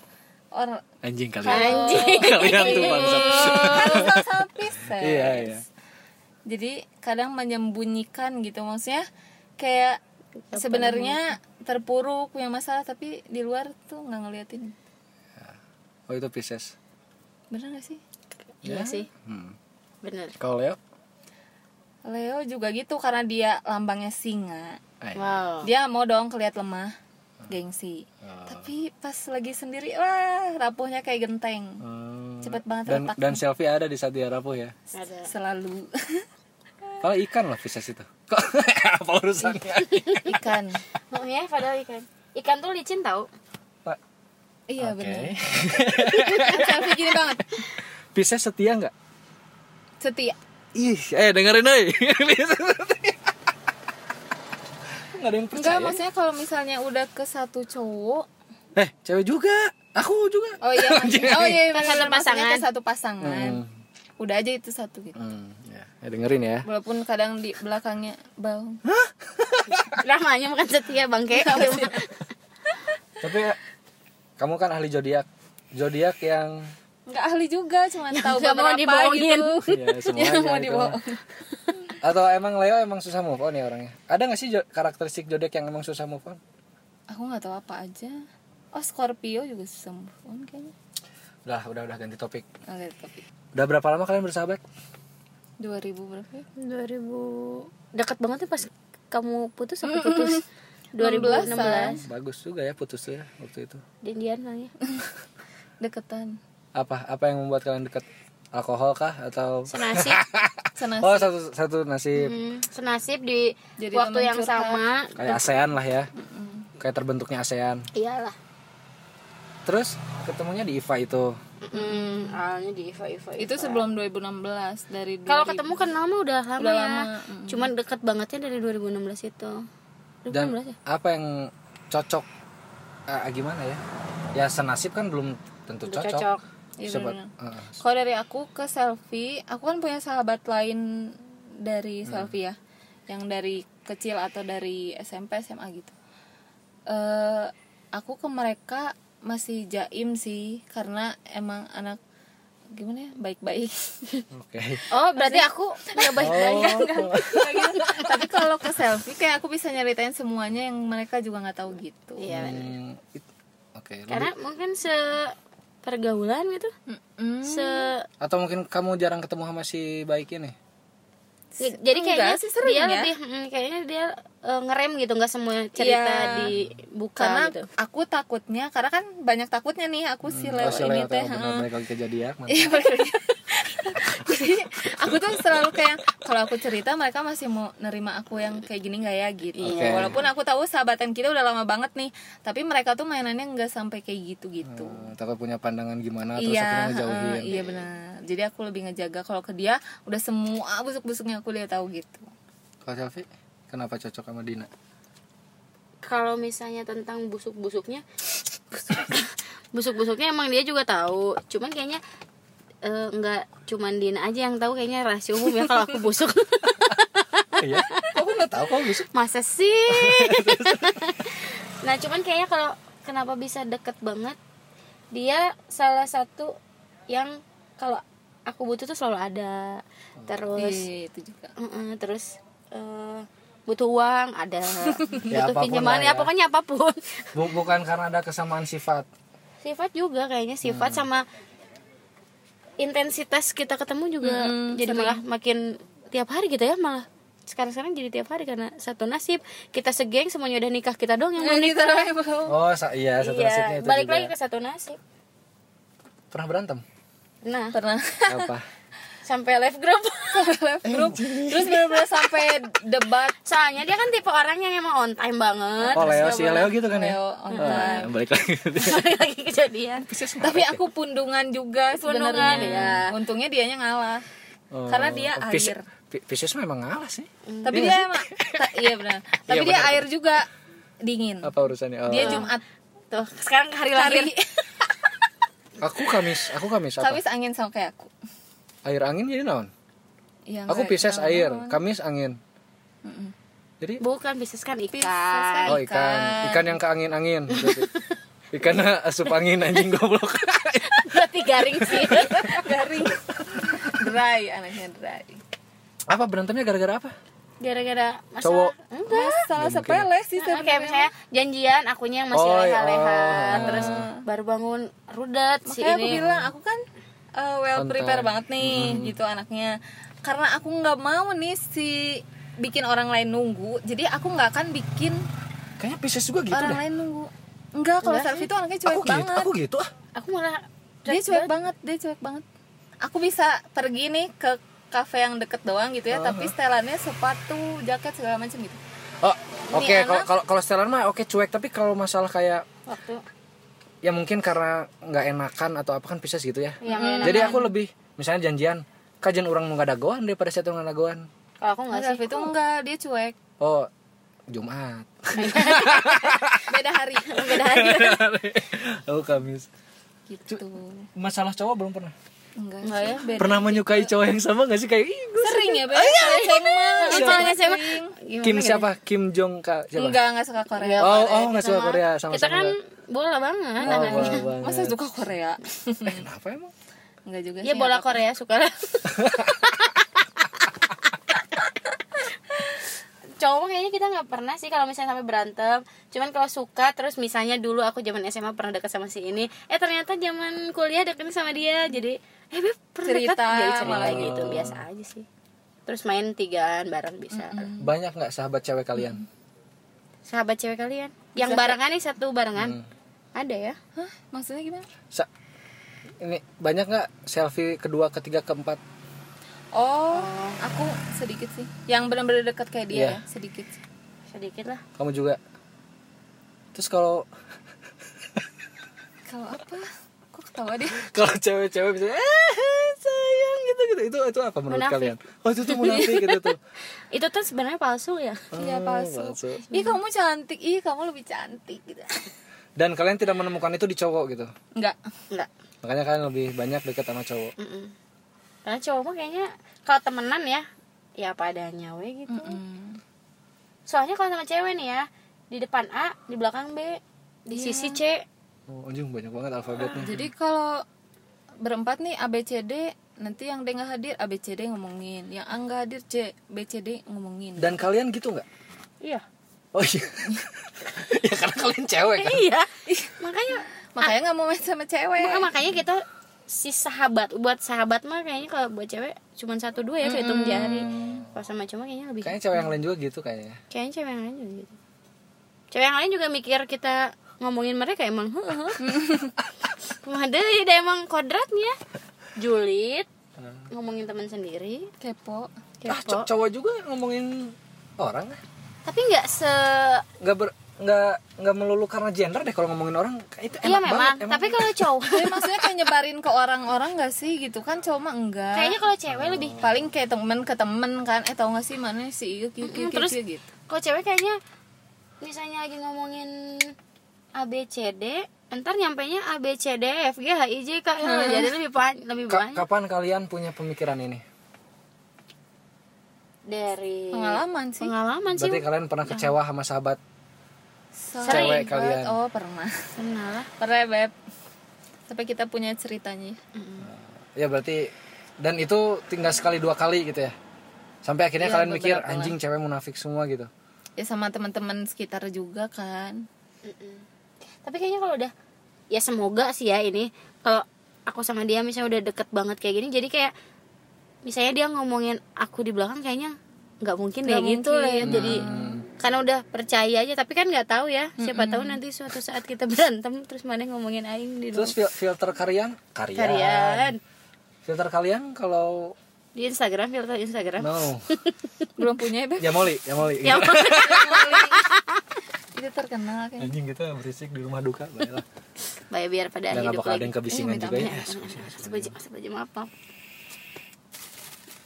C: or
A: anjing kalian
B: anjing
A: kalian tuh bangsa
C: harus tahu pisah.
A: iya iya
C: Jadi kadang menyembunyikan gitu maksudnya kayak sebenarnya terpuruk punya masalah tapi di luar tuh nggak ngeliatin.
A: oh itu Pisces
C: Bener gak sih?
B: iya sih
A: hmm.
B: bener
A: kalau Leo
C: Leo juga gitu karena dia lambangnya singa.
A: Ay.
B: wow
C: Dia mau dong keliat lemah, gengsi.
A: Ah.
C: Tapi pas lagi sendiri wah rapuhnya kayak genteng.
A: Hmm.
C: Cepet banget
A: dan
C: retak.
A: dan selfie ada di saat dia rapuh ya
B: ada
C: Selalu
A: kalau ikan lah Pisces itu kok apa urusannya
C: ikan.
B: Maaf ya padahal ikan ikan tuh licin tau
A: Pak,
C: Iya
A: oke.
C: bener Selfie gini banget.
A: Pisces setia nggak
C: Setia.
A: ih eh dengerin euy Pisces setia. nggak ada yang
C: Enggak,
A: percaya
C: maksudnya kalau misalnya udah ke satu cowok
A: eh cewek juga aku juga
C: Oh iya, maksudnya- oh iya,
B: Ke
C: bener,
B: satu
C: maksudnya
B: pasangan.
C: ke satu pasangan. Udah aja itu satu gitu.
A: Hmm, ya. ya dengerin ya
C: Walaupun kadang di belakangnya bau.
B: namanya bukan setia bangke
A: tapi eh, kamu kan ahli zodiak zodiak yang
C: Enggak ahli juga, cuma tahu
B: nggak mau
C: beberapa
B: dibohongin.
C: gitu.
A: ya semua
C: Yang
A: aja
C: mau
A: gitu.
C: dibohong.
A: atau emang Leo emang susah move on ya orangnya ada nggak sih jo- karakteristik zodiak yang emang susah move on
C: Aku nggak tahu apa aja. Oh, Scorpio juga susah move on kayaknya.
A: udah udah udah ganti topik
C: Nggak lihat tapi.
A: udah berapa lama kalian bersahabat
C: 2000 berapa ya?
B: 2000 dekat banget tuh pas kamu putus aku putus 2016
A: bagus juga ya putusnya waktu itu
B: Dindian nanya
C: Deketan.
A: apa apa yang membuat kalian deket alkohol kah atau
B: senasib
C: Senasib.
A: oh satu satu nasib
B: Hmm, senasib di
C: Jadi
B: waktu
C: teman
B: yang
C: curhat.
B: sama
A: kayak ASEAN lah ya kayak terbentuknya ASEAN
B: iyalah
A: terus ketemunya di IFA itu
B: Mm, awalnya di Eva Eva
C: Itu sebelum 2016 dari
B: kalau
C: 2000.
B: ketemu kenal mah udah lama
C: Udah
B: ya
C: lama,
B: cuman dekat bangetnya dari 2016 itu 2016
A: dan
B: ya
A: apa yang cocok eh, gimana ya ya senasib kan belum tentu cocok,
B: Udah
A: Ah,
B: cocok.
C: Iya,
A: Sobat-
C: benar-benar.
A: Heeh.
C: Kalau dari aku ke selfie, aku kan punya sahabat lain dari selfie ya, yang dari kecil atau dari SMP SMA gitu. Eh, aku ke mereka masih jaim sih, karena emang anak gimana ya baik-baik.
A: oke
B: oh berarti aku nggak baik-baik
C: Kayak gitu. Tapi kalau ke selfie, kayak aku bisa nyeritain semuanya yang mereka juga nggak tahu gitu.
B: iya bener.
A: Hmm, it- oke lu-
B: karena mungkin se pergaulan gitu
C: Mm-mm.
B: se
A: atau mungkin kamu jarang ketemu sama si baik ini
B: jadi kayaknya
C: Enggak sih, sering
B: dia
C: ya.
B: lebih mm, kayaknya dia eh, ngerem gitu nggak semua cerita
C: Iya.
B: dibuka
C: Karena
B: gitu
C: aku takutnya, karena kan banyak takutnya nih aku si Leo
A: Hmm, oh, si Leo
C: ini teh.
A: tahu
C: heeh.
A: benar balik lagi ke zodiak, mantap.
C: Iya, bener. Jadi aku tuh selalu kayak kalau aku cerita mereka masih mau nerima aku yang kayak gini nggak ya gitu.
A: Oke.
C: Walaupun aku tahu sahabatan kita udah lama banget nih, tapi mereka tuh mainannya nggak sampai kayak gitu gitu.
A: Hmm, takut punya pandangan gimana terus akhirnya
C: iya,
A: ngejauhin
C: heeh, iya benar. Jadi aku lebih ngejaga kalau ke dia udah semua busuk-busuknya aku dia tahu gitu.
A: kalau selfie kenapa cocok sama Dina
B: kalau misalnya tentang busuk-busuknya busuk-busuknya emang dia juga tahu cuman kayaknya eh, nggak cuman Dina aja yang tahu kayaknya rahasia umum ya kalau aku busuk
A: iya aku nggak tahu kok bisa
B: masa sih nah cuman kayaknya kalau kenapa bisa deket banget dia salah satu yang kalau aku butuh tuh selalu ada terus
C: Iya, itu juga.
B: Mm-mm, terus eh, butuh uang ada
A: Ya,
B: butuh
A: apapun lah
B: pinjaman
A: ya.
B: ya pokoknya apapun
A: Bu- bukan karena ada kesamaan sifat
B: sifat juga kayaknya sifat sama intensitas kita ketemu juga
C: Mm,
B: jadi malah makin tiap hari gitu ya malah sekarang sekarang jadi tiap hari karena satu nasib kita segeng semuanya udah nikah kita doang yang belum
C: Ini
B: nikah
C: terlalu belum.
A: oh sa- iya satu nasibnya
B: iya
A: itu
B: balik
A: juga
B: lagi
A: ya.
B: ke satu nasib
A: pernah berantem
B: nah
C: pernah
A: apa
B: sampai live group Eh,
C: left group terus benar-benar sampai debat
B: soalnya dia kan tipe orang yang emang on time banget
A: oh Leo si Leo gitu kan ya
C: Leo online.
A: Ah, balik lagi
B: balik lagi kejadian
C: tapi aku pundungan juga
B: Pundungan,
C: sebenarnya
B: ya.
C: untungnya dianya ngalah
A: Oh,
C: karena dia
A: Pis-
C: air
A: Pi- Pisces memang ngalah sih
C: tapi dia emang ta- iya benar tapi
A: Iya,
C: dia
A: benar.
C: air juga dingin
A: apa urusannya oh.
C: dia jumat
B: tuh sekarang ke hari lahir
C: hari
A: aku Kamis aku Kamis apa
C: habis angin sama kayak aku
A: air angin jadi naon
C: Iya,
A: aku
C: nggak-
A: Pisces
C: nggak
A: air
C: ngelawan.
A: Kamis angin jadi
B: bukan bisnis kan ikan
C: Pisces kan.
A: oh ikan
C: Ikan.
A: ikan yang ke angin angin Karena asup angin anjing goblok.
B: berarti garing sih
C: garing dry anaknya dry
A: apa berantemnya gara-gara apa?
B: gara-gara masalah Hmm?
A: Cowok.
B: enggak
C: salah
A: mungkin.
C: sepele sih
B: Nah, kayak
C: sebenarnya
B: misalnya janjian akunya yang masih
A: Oh, iya.
B: leha-leha terus baru bangun rudet si
C: kayak aku
B: ini
C: bilang aku kan uh, well
A: On
C: prepare
A: time.
C: banget nih
A: Mm-hmm.
C: gitu anaknya karena aku nggak mau nih si bikin orang lain nunggu jadi aku nggak akan bikin
A: Kayaknya Pisces juga gitu
C: orang
A: deh.
C: lain nunggu enggak kalau
B: Enggak
C: selfie
B: sih.
C: itu anaknya cuek
A: Aku gitu,
C: banget
A: aku gitu ah.
B: aku malah
C: dia cuek banget dia cuek banget aku bisa pergi nih ke kafe yang deket doang gitu ya tapi setelannya sepatu jaket segala macam gitu
A: Oh, oke
C: Ini
A: kalau
C: anak-
A: kalau kalau setelan mah oke cuek, tapi kalau masalah kayak
B: waktu
A: ya mungkin karena nggak enakan atau apa kan Pisces gitu ya.
B: yang
A: Jadi aku lebih misalnya janjian kajian orang mau dagoan daripada saya tuh dagoan.
B: kalau aku nggak ya. sih
C: selfie itu enggak dia cuek
A: Oh, Jumat.
C: beda hari beda hari
A: oh, Kamis.
C: gitu
A: Masalah cowok belum pernah.
C: enggak
B: Enggak
C: sih,
B: ya?
C: beda.
A: Pernah menyukai cowok yang sama gak sih kayak "Ih, gue
C: sering ya beda
B: Yang paling SMA Gimana
A: Kim
B: gitu?
A: siapa? Kim Jong Ka siapa?
C: enggak enggak suka Korea
A: oh, oh nggak suka Korea Oh, sama
B: kita
A: sama.
B: kan bola banget
A: Oh,
B: anaknya
A: bola banget.
C: masa suka Korea
A: Eh, kenapa emang?
C: enggak juga
B: ya
C: sih
B: bola Korea suka lah cowok kayaknya kita nggak pernah sih kalau misalnya sampai berantem cuman kalau suka terus misalnya dulu aku zaman SMA pernah dekat sama si ini eh ternyata zaman kuliah deketin sama dia jadi eh beb pernah
C: Cerita,
B: dekat jadi cerita
C: malah.
B: gitu biasa aja sih terus main tigaan bareng bisa
A: Banyak nggak sahabat cewek kalian?
B: sahabat cewek kalian yang barengan nih satu barengan ada ya
C: Hah? maksudnya gimana
A: Sa- ini banyak nggak selfie kedua, ketiga, keempat?
C: oh aku sedikit sih yang benar-benar dekat kayak dia
A: Iya.
C: ya sedikit sih.
B: sedikit lah
A: Kamu juga. Terus kalau
C: kalau apa kok ketawa dia
A: kalau cewek-cewek bisa eh sayang gitu gitu itu itu apa menurut
B: Munafik.
A: kalian? Oh itu tuh munafik gitu tuh. Oh,
B: itu tuh sebenarnya palsu ya
C: Iya palsu.
A: palsu.
C: Ih kamu cantik, ih kamu lebih cantik gitu.
A: Dan kalian tidak menemukan itu di cowok gitu.
C: Enggak.
B: enggak
A: Makanya kalian lebih banyak dekat sama cowok.
B: Mm-mm. Karena cowok mah kayaknya kalau temenan ya, ya apa adanya we gitu.
C: Hmm.
B: Soalnya kalau sama cewek nih ya, di depan A, di belakang B, di sisi C.
A: Oh, anjing banyak banget alfabetnya.
C: Jadi kalau berempat nih ABCD nanti yang D nggak hadir ABCD ngomongin, yang A nggak hadir C BCD ngomongin.
A: Dan kalian gitu nggak?
B: Iya.
A: Oh iya. ya karena kalian cewek kan.
B: Iya. makanya
C: Makanya nggak mau main sama cewek.
B: maka- makanya kita si sahabat buat sahabat mah kayaknya kalau buat cewek cuman satu dua ya kehitung jari. Kalau sama cowok kayaknya lebih
A: Kayaknya cewek yang lain juga gitu kayaknya.
B: kayaknya cewek yang lain juga gitu. Cewek yang lain juga mikir kita ngomongin mereka emang. Waduh, ya udah emang kodratnya. Julid, ngomongin teman sendiri,
C: Kepo.
A: Hmm. Ah, cow-
B: kepo.
A: cowok juga ngomongin orang ah.
B: Tapi nggak se
A: nggak ber nggak nggak melulu karena gender deh kalau ngomongin orang itu enak
B: Iya
A: banget
B: memang,
A: emang.
B: tapi kalau cowok
C: Tapi maksudnya kayak nyebarin ke orang-orang nggak sih gitu kan cuma enggak.
B: kayaknya kalau cewek lebih
C: paling kayak temen ke temen kan eh tau gak sih mana si iya gitu
B: Mm, terus-
C: gitu
B: kalau cewek kayaknya misalnya lagi ngomongin A B C D ntar nyampainya A B C D E, F G H I J K L jadi lebih pan lebih
A: Hmm. Ka-
B: banyak
A: kapan kalian punya pemikiran ini
B: dari
C: pengalaman sih
B: pengalaman sih
A: berarti kalian
B: Nah.
A: pernah kecewa sama sahabat cewek
C: Sering banget.
A: kalian.
C: oh pernah
B: kenal lah
C: pernah beb sampai kita punya ceritanya
B: Mm.
A: ya berarti dan itu tinggal sekali dua kali gitu ya sampai akhirnya
C: Iya,
A: kalian mikir
C: beberapa
A: anjing cewek munafik semua gitu
C: ya sama teman-teman sekitar juga kan
B: Mm-mm. Tapi kayaknya kalau udah ya semoga sih ya ini kalau aku sama dia misalnya udah deket banget kayak gini jadi kayak misalnya dia ngomongin aku di belakang kayaknya nggak mungkin deh
C: Nggak
B: gitu
C: mungkin.
B: lah ya jadi
A: Hmm.
B: karena udah percaya aja tapi kan nggak tahu ya siapa tahu nanti suatu saat kita berantem terus mana ngomongin aing di
A: terus iya. fil-
B: terus
A: filter kalian karya
B: kalian
A: filter kalian kalau
B: di Instagram filter Instagram
A: no
C: belum punya ya beb
A: ya moli ya moli
B: Eh. ya
C: itu terkenal kan
A: anjing kita berisik di rumah duka baiklah
B: Baik, biar pada
A: dan nggak
B: Eh, hidup
A: bakal ada
B: lagi Iya,
A: yang kebisingan juga ya
B: Asap aja, asap aja, asap aja, maaf, maaf.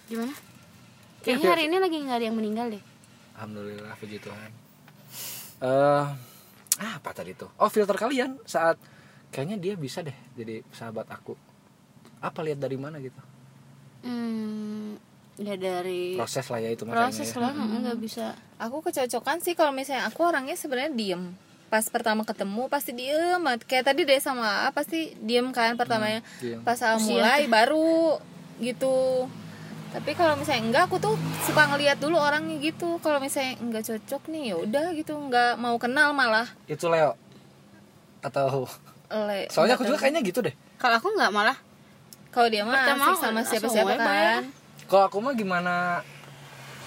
B: Gimana?
A: Oke,
B: Kayaknya
A: oke,
B: hari ini lagi nggak ada yang meninggal deh.
A: Alhamdulillah puji Tuhan. Eh ah, apa tadi tuh? Oh, filter kalian saat kayaknya dia bisa deh jadi sahabat aku. Apa lihat dari mana gitu?
B: Hmm, ya dari
A: Proses lah ya itu makanya.
B: proses
A: ya.
B: lah, nggak bisa.
C: aku kecocokan sih kalau misalnya aku orangnya sebenarnya diem pas pertama ketemu pasti diem banget. kayak tadi deh sama A pasti diem kan pertamanya
A: Hmm, diem.
C: pas A mulai baru gitu tapi kalau misalnya enggak aku tuh suka ngeliat dulu orangnya gitu kalau misalnya enggak cocok nih ya udah gitu enggak mau kenal malah
A: itu Leo atau
C: le
A: soalnya aku juga kayaknya gitu deh
B: Kalau aku nggak malah
C: kalau dia mah
B: Pertama
C: asik sama
B: langsung ya.
C: siapa-siapa
B: web aja.
C: kan
A: kalau aku mah gimana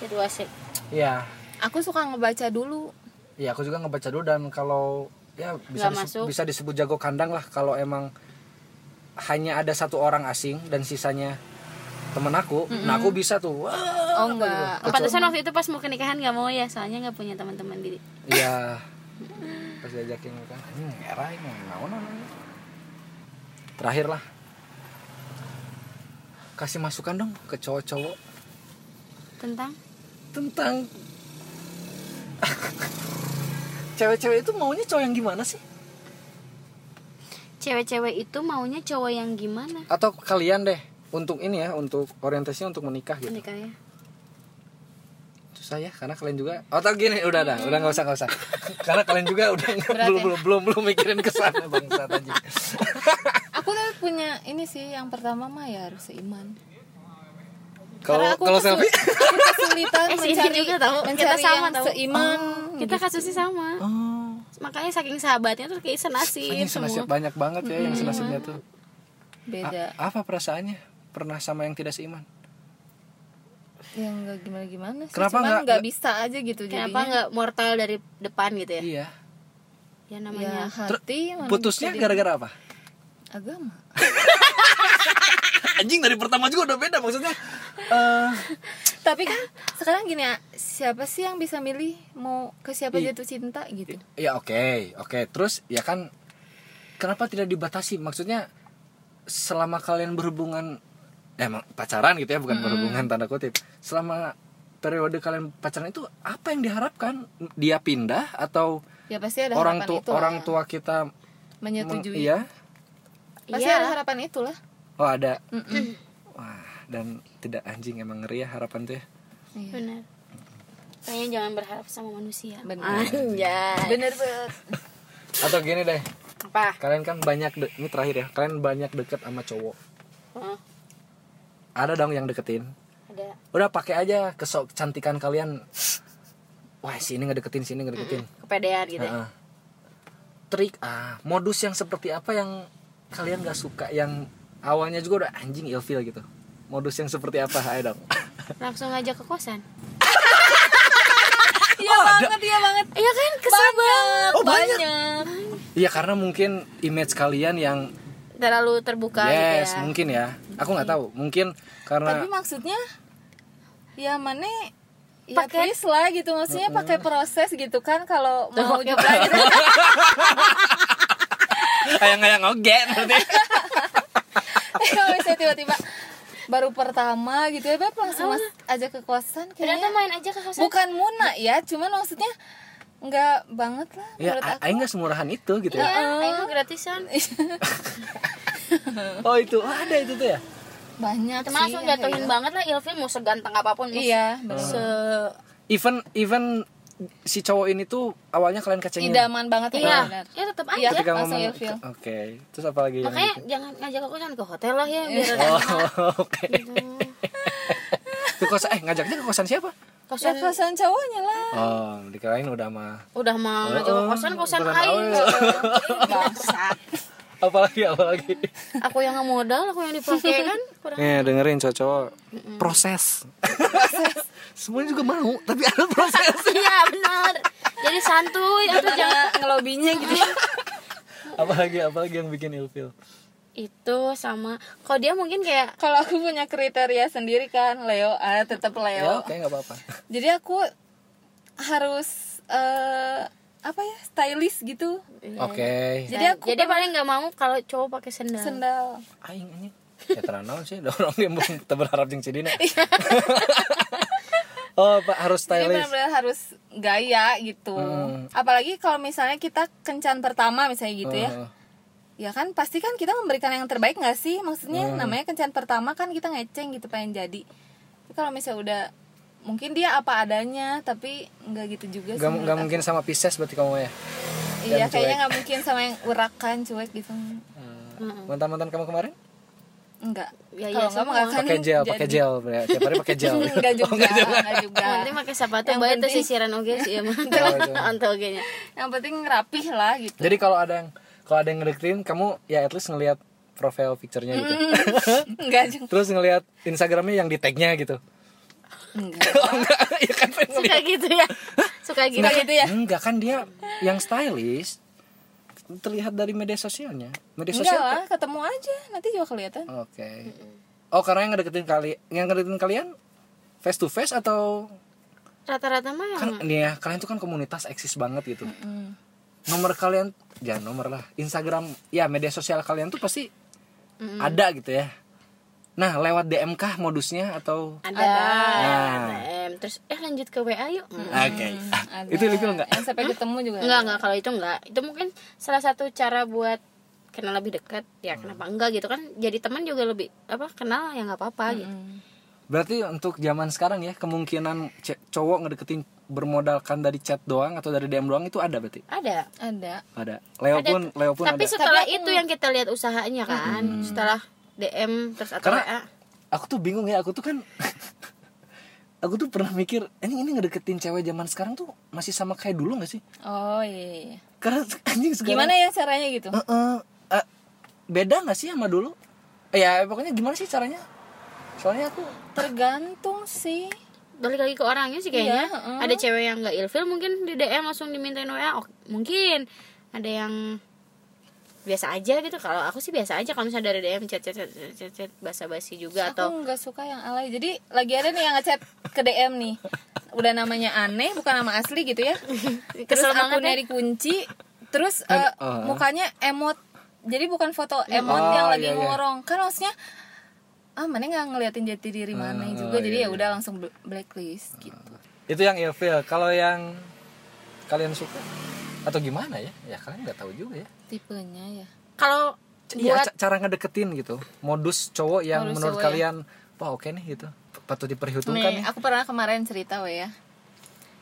B: situasi.
A: ya
C: aku suka ngebaca dulu
A: ya aku juga ngebaca dulu dan kalau ya bisa
B: Nggak
A: dise-
B: masuk.
A: bisa disebut jago kandang lah kalau emang hanya ada satu orang asing dan sisanya temen aku nah aku bisa tuh wah
C: oh enggak
B: Pantesan waktu itu pas mau ke nikahan nggak mau ya, soalnya nggak punya teman-teman di
A: ya pas diajakin kan hmm, era ini naon namanya. terakhir lah kasih masukan dong ke cowok-cowok
B: tentang
A: tentang cewek-cewek itu maunya cowok yang gimana sih
B: cewek-cewek itu maunya cowok yang gimana
A: atau kalian deh untuk ini ya untuk orientasinya untuk menikah gitu
B: menikahnya.
A: susah ya karena kalian juga atau gini udah dah udah nggak usah nggak usah karena kalian juga udah nggak- belum, belum belum belum mikirin kesana bangsa tadi
C: aku tuh punya ini sih yang pertama mah ya harus seiman
A: kalau kalau
C: kesul-
A: selfie
C: aku kesulitan
B: Eh, si Indi
C: Kan mencari
B: juga tahu.
C: mencari
B: Kita sama
C: yang Oh.
B: tahu.
C: seiman
B: Kita kasusnya sama.
A: oh
B: Makanya saking sahabatnya tuh kayak senasib
A: ini senasib
B: Iya, semua.
A: banyak banget ya yang senasibnya tuh A-
C: beda
A: apa perasaannya pernah sama yang tidak seiman
C: yang nggak gimana gimana sih
A: Kenapa
C: cuman
A: nggak-
C: nggak bisa aja gitu
B: Kenapa
C: jadinya
B: nggak mortal dari depan gitu ya?
A: iya
B: Ya
C: ya
B: namanya
C: hati mana
A: putusnya
C: bisa di-
A: gara-gara apa
C: agama
A: anjing dari pertama juga udah beda maksudnya eh
C: tapi kan sekarang gini ya siapa sih yang bisa milih mau ke siapa
A: Ih.
C: jatuh cinta gitu
A: Ya oke, oke. Terus ya kan kenapa tidak dibatasi? Maksudnya selama kalian berhubungan eh, emang pacaran gitu ya, bukan berhubungan tanda kutip. Selama periode kalian pacaran itu apa yang diharapkan? Dia pindah atau
C: ya pasti ada
A: orang
C: harapan
A: tua
C: itu lah.
A: orang tua kita men-
C: menyetujui
A: iya?
C: pasti
B: Iya.
C: ada harapan itulah
A: Oh, ada.
C: Mm-mm.
A: Wah, dan tidak anjing emang ngeri ya harapan tuh ya.
C: Iya.
B: benar. Kayaknya jangan berharap sama manusia.
C: Benar.
B: Anjay.
C: bener banget
A: Atau gini deh,
B: Apa?
A: kalian kan banyak de- ini terakhir ya, kalian banyak deket sama cowok.
B: Heeh,
A: Ada dong yang deketin.
B: ada.
A: udah pakai aja kesok cantikan kalian wah sini ngedeketin sini ngedeketin
B: Kepedean gitu. ya.
A: Heeh. trik ah modus yang seperti apa yang kalian gak suka yang awalnya juga udah anjing ilfil gitu modus yang seperti apa ayo dong
B: Langsung ngajak ke kosan.
C: iya banget iya banget
B: Iya kan? Kesel
C: banyak
A: Eh, Oh, banyak.
C: banyak
A: iya karena mungkin image kalian yang
B: terlalu terbuka gitu
A: yes
B: ya.
A: mungkin ya aku nggak tahu mungkin
C: tapi
A: karena
C: maksudnya ya mana ya
B: Pakai-
C: please lah gitu maksudnya pakai proses gitu kan kalau mau
B: pakai
C: nyoba gitu.
A: ayang-ayang oge nanti
C: kalau misalnya tiba-tiba baru pertama gitu ya beb langsung mas aja ke kosan
B: Ternyata
C: kayaknya
B: main aja ke kosan.
C: bukan muna ya cuman maksudnya nggak banget lah
A: ya
C: menurut aku
A: aing nggak semurahan itu gitu
B: Iya,
A: ya
B: ayo gratisan.
A: oh itu oh, ada itu tuh ya
C: banyak
B: Cuma
C: sih
B: langsung
C: yang kayak
B: jatuhin
C: gitu.
B: banget lah Ilfil mau seganteng apapun. mau
C: iya bener.
B: Se
A: even even si cowok ini tuh awalnya kalian kacengin
C: idaman
B: Iya,
C: banget ya bener.
B: ya tetap
C: Iya.
B: aja.
A: ketika
C: langsung
A: ngomong
C: ilfil.
A: oke terus apa lagi yang
B: Makanya
A: gitu?
B: jangan ngajak aku kan ke hotel lah ya biar
A: oh oke ke kosan eh ngajaknya ke kosan siapa
C: Ya,
B: kosan
C: kosan cowoknya lah
A: oh dikirain udah mah
B: udah mau ngajak ke kosan
A: Kosan
B: kosan aing.
A: aing.
B: Bangsat.
A: apalagi apalagi
B: Aku yang ngemodal, aku yang dipakai kan. Kurang
A: nih dengerin cowok proses semuanya juga mau tapi ada proses
B: Iya benar. Jadi santuy atau jangan
C: jangan ngelobinya gitu
A: apalagi apalagi yang bikin ilfil
B: itu sama kalau dia mungkin kayak
C: kalau aku punya kriteria sendiri kan Leo ah tetap
A: ya oke
C: Leo
A: nggak apa-apa
C: jadi aku harus eh apa ya stylish gitu
A: oke
C: Jadi aku
B: ya, jadi paling nggak mau kalau cowok pakai sendal.
C: sendal
A: aing anjing ya tenang naon sih ada orang yang teu berharap jeung cidina
C: Iya.
A: oh pak harus
C: jadi
A: stylish
C: benar-benar harus gaya gitu
A: Hmm.
C: apalagi kalau misalnya kita kencan pertama misalnya gitu ya
A: Heeh.
C: ya kan pasti kan kita memberikan yang terbaik nggak sih maksudnya
A: Hmm.
C: namanya kencan pertama kan kita ngeceng gitu pengen jadi Tapi kalau misalnya udah mungkin dia apa adanya tapi nggak gitu juga
A: Gak,
C: sih
A: gak mungkin sama Pisces berarti kamu ya?
C: menurut iya
A: cuek.
C: kayaknya nggak mungkin sama yang urakan cuek gitu
B: Mm-mm.
A: Mantan-mantan kamu kemarin?
C: enggak
B: Ya, iya,
C: kalau nggak mah nggak
B: semua.
C: akan
A: Pakai gel,
C: Kan jadi.
A: pakai gel. ya. Tiap hari pakai gel.
C: enggak Oh, juga enggak juga
B: Nanti pakai sepatu
C: Yang
B: bae teh
C: penting-
B: sisiran oge sih ya mah.
A: Oh, itu.
B: Ante oge nya.
C: yang penting rapih lah gitu
A: Jadi kalau ada yang kalau ada yang ngedeketin kamu ya at least ngelihat profile picture-nya gitu.
C: enggak juga
A: Terus ngelihat Instagramnya yang di tag-nya gitu.
C: enggak
A: Oh enggak, ya kan pengen
B: Suka gitu ya. Suka gitu.
C: Enggak gitu ya
A: Enggak kan dia yang stylish terlihat dari media sosialnya. Media
C: enggak
A: sosial.
C: lah ketemu aja nanti juga kelihatan
A: Oke. Oh, karena yang ngedeketin kali yang ngedeketin kalian face to face atau
B: Rata-rata mah
A: kan nih ya, kalian tuh kan komunitas eksis banget gitu. Nomor kalian jangan nomor lah. Instagram ya media sosial kalian tuh pasti ada gitu ya. Nah, lewat DM kah modusnya atau
B: ada ada
A: Ah.
B: DM. Terus eh lanjut ke WA yuk.
A: Oke.
C: Ada.
A: Itu ilfil enggak?
C: yang sampai ketemu juga
B: Enggak, enggak kalau itu enggak. Itu mungkin salah satu cara buat kenal lebih dekat. Ya kenapa
A: Hmm.
B: enggak gitu kan? Jadi teman juga lebih apa kenal ya nggak apa-apa gitu.
C: Hmm.
A: Berarti untuk zaman sekarang ya kemungkinan ce- cowok ngedeketin bermodalkan dari chat doang atau dari DM doang itu ada berarti.
B: Ada.
C: ada
A: Ada. Leo
B: Ada.
A: pun Leo pun
B: Tapi
A: ada.
B: setelah itu yang kita lihat usahanya kan. Setelah DM terus atau
A: Karena-
B: WA.
A: Aku tuh bingung ya, aku tuh kan aku tuh pernah mikir ini ini ngedeketin cewek zaman sekarang tuh masih sama kayak dulu nggak sih?
C: oh iya, iya.
A: Karena anjing sekarang
C: gimana ya caranya gitu
A: Heeh. Eh, beda nggak sih sama dulu? Eh, Ya pokoknya gimana sih caranya? Soalnya aku
C: tergantung sih
B: balik lagi ke orangnya sih kayaknya
C: Iya, heeh.
B: ada cewek yang nggak ilfil mungkin di DM langsung dimintain WA oh, mungkin ada yang biasa aja gitu kalau aku sih biasa aja kalau misalnya dari DM chat chat chat chat, chat, chat basa-basi juga atau
C: aku nggak suka yang alay jadi lagi ada nih yang ngechat ke DM nih udah namanya aneh bukan nama asli gitu ya terus
B: Kesel banget
C: aku
B: ya.
C: nyari kunci terus eh,
A: oh.
C: mukanya emot jadi bukan foto emot
A: Oh,
C: yang lagi
A: iya, iya.
C: ngorong kan maksudnya ah mana nggak ngeliatin jati diri mana
A: Oh,
C: juga
A: iya,
C: jadi ya udah langsung bl- blacklist gitu
A: itu yang ilfil kalau yang kalian suka atau gimana ya ya kalian nggak tahu juga ya
C: tipenya ya
B: kalau
A: Iya, ca-
B: buat
A: cara ngedeketin gitu modus cowok yang
C: Modus
A: menurut
C: cowok ya.
A: kalian wah oke nih gitu patut diperhitungkan nih
C: Nih, aku pernah kemarin cerita we ya.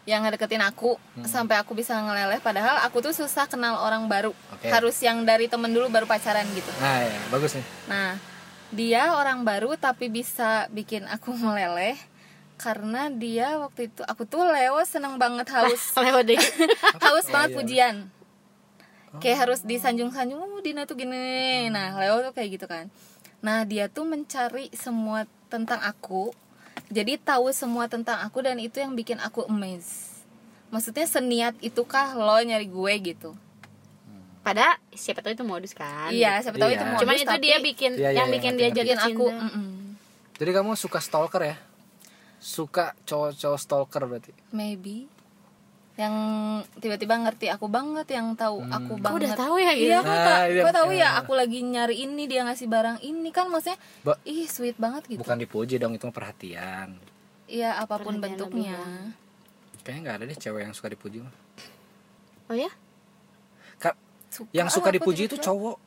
C: Yang ngedeketin aku sampai aku bisa ngeleleh padahal aku tuh susah kenal orang baru.
A: Oke.
C: Harus yang dari temen dulu baru pacaran gitu.
A: nah ya bagus nih
C: Nah, dia orang baru tapi bisa bikin aku meleleh karena dia waktu itu aku tuh lewat seneng banget haus
B: lewat deh
C: haus banget pujian kayak harus disanjung-sanjung oh, Dina tuh gini nah Leo tuh kayak gitu kan nah dia tuh mencari semua tentang aku jadi tahu semua tentang aku dan itu yang bikin aku amazed maksudnya seniat itukah lo nyari gue gitu
B: pada siapa tahu itu modus kan
C: iya siapa tahu
A: Iya.
C: itu modus
B: cuman itu
C: tapi
B: dia bikin
A: Iya, iya,
B: yang
A: iya,
B: bikin
A: ngerti,
B: dia
A: ngerti.
B: jadi
C: bikin aku mm.
B: aku
C: mm-mm.
A: jadi kamu suka stalker ya suka cowok-cowok stalker berarti
C: maybe yang tiba-tiba ngerti aku banget yang tahu aku
B: aku
C: banget
B: udah tahu ya gitu
C: Iya, kok,
A: Nah,
C: ta-
A: Hmm. iya,
C: kok tahu
A: iya.
C: ya aku lagi nyari ini dia ngasih barang ini kan maksudnya
A: Ba-
C: ih sweet banget gitu.
A: bukan dipuji dong itu mah perhatian
C: Iya, apapun
B: Perhatian
C: bentuknya.
A: kayaknya nggak ada deh cewek yang suka dipuji mah
B: oh ya
A: Ka-
C: Suka
A: yang suka
C: lah aku
A: dipuji itu
C: tiba-tiba.
A: cowok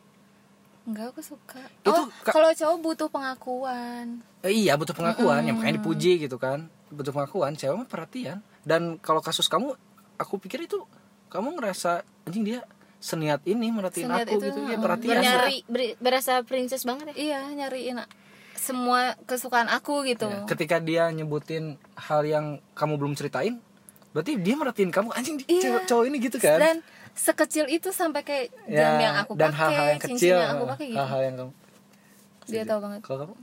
C: Enggak, aku suka.
A: Itu
C: oh,
A: ka-
C: kalau cowok butuh pengakuan.
A: Eh, iya butuh pengakuan yang makanya dipuji gitu kan butuh pengakuan cewek mah perhatian dan kalau kasus kamu aku pikir itu kamu ngerasa anjing dia seniat ini merhatiin
C: Seniat
A: aku
C: itu,
A: gitu ya
C: mm,
A: perhatian
C: bernyari.
A: gitu.
B: berasa ber- berasa princess banget ya
C: Iya, nyariin a- semua kesukaan aku gitu.
A: Ya, ketika dia nyebutin hal yang kamu belum ceritain berarti dia merhatiin kamu anjing di-
C: Iya.
A: cewek- cowok ini gitu kan Ya,
C: Dan sekecil itu sampai kayak jam yang aku
A: dan
C: pakai,
A: hal-hal yang
C: cincin
A: kecil
C: yang aku pakai gitu.
A: hal-hal yang kamu
C: Dia tahu banget.
A: kalau kamu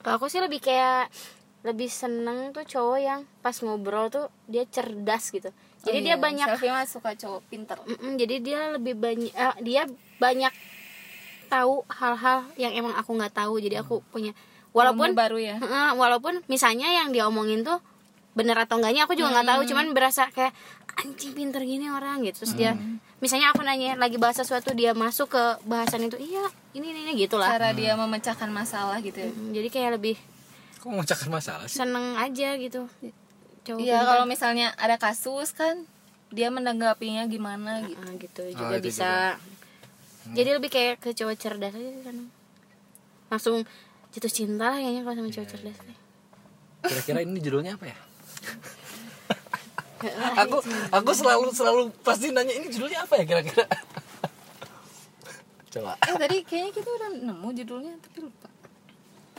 B: Kalau aku sih lebih kayak lebih seneng tuh cowok yang pas ngobrol tuh dia cerdas gitu. Jadi
C: Oh
B: dia
C: iya,
B: banyak,
C: Selfie mah suka cowok pinter.
B: Mm-mm, jadi dia lebih banyak, eh, dia banyak tahu hal-hal yang emang aku nggak tahu. Jadi aku
C: Hmm.
B: punya, walaupun
C: Ilmu baru ya.
B: Heeh, walaupun misalnya yang dia omongin tuh bener atau enggaknya aku juga nggak tahu
C: Hmm.
B: cuman berasa kayak anjing pinter gini orang gitu terus dia
C: Hmm.
B: misalnya aku nanya lagi bahas sesuatu dia masuk ke bahasan itu iya ini ini, ini gitu lah
C: Cara dia memecahkan masalah gitu. ya.
B: Mm, jadi kayak lebih
A: kamu memecahkan masalah sih
B: seneng aja gitu cowok
C: Iya
B: pintar.
C: kalau misalnya ada kasus kan dia menanggapinya gimana gitu.
B: Ah, gitu juga
A: Oh, itu
B: bisa Hmm. jadi lebih kayak ke cowok cerdas aja sih kan langsung jatuh cinta lah
A: Iya,
B: kayaknya kalau sama cowok cerdas teh.
A: kira-kira ini judulnya apa ya aku aku selalu selalu pasti nanya ini judulnya apa ya kira-kira coba
C: eh tadi kayaknya kita udah nemu judulnya tapi lupa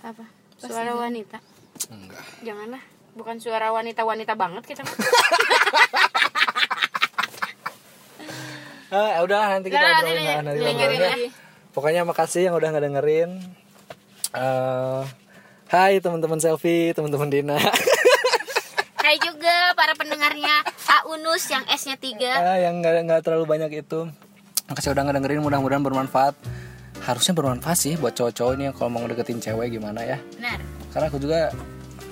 B: apa suara wanita
A: enggak
B: janganlah bukan suara wanita wanita banget kita mah.
A: ah udah nanti kita
B: Nah, nanti
A: obrolin
B: nih,
A: nah, nanti kita
B: dengerin
A: obrolin ya.
B: lagi.
A: pokoknya makasih yang udah ngedengerin Eh, Hai teman-teman selfie, teman-teman Dina.
B: Hai juga para pendengarnya A Unus yang S-nya 3
A: Ah, yang nggak nggak terlalu banyak itu makasih udah ngedengerin mudah-mudahan bermanfaat harusnya bermanfaat sih buat cowok-cowok ini yang kalau mau deketin cewek gimana ya
B: Benar,
A: karena aku juga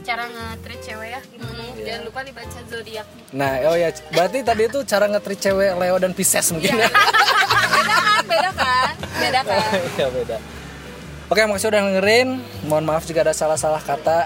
B: cara nge-treat cewek ya gimana
A: Iya.
B: ya? Jangan lupa dibaca zodiak.
A: nah oh ya berarti tadi itu cara ngetrit cewek Leo dan Pisces mungkin
B: Iya,
A: ya
C: beda kan beda kan
A: ya beda oke makasih udah dengerin mohon maaf jika ada salah-salah kata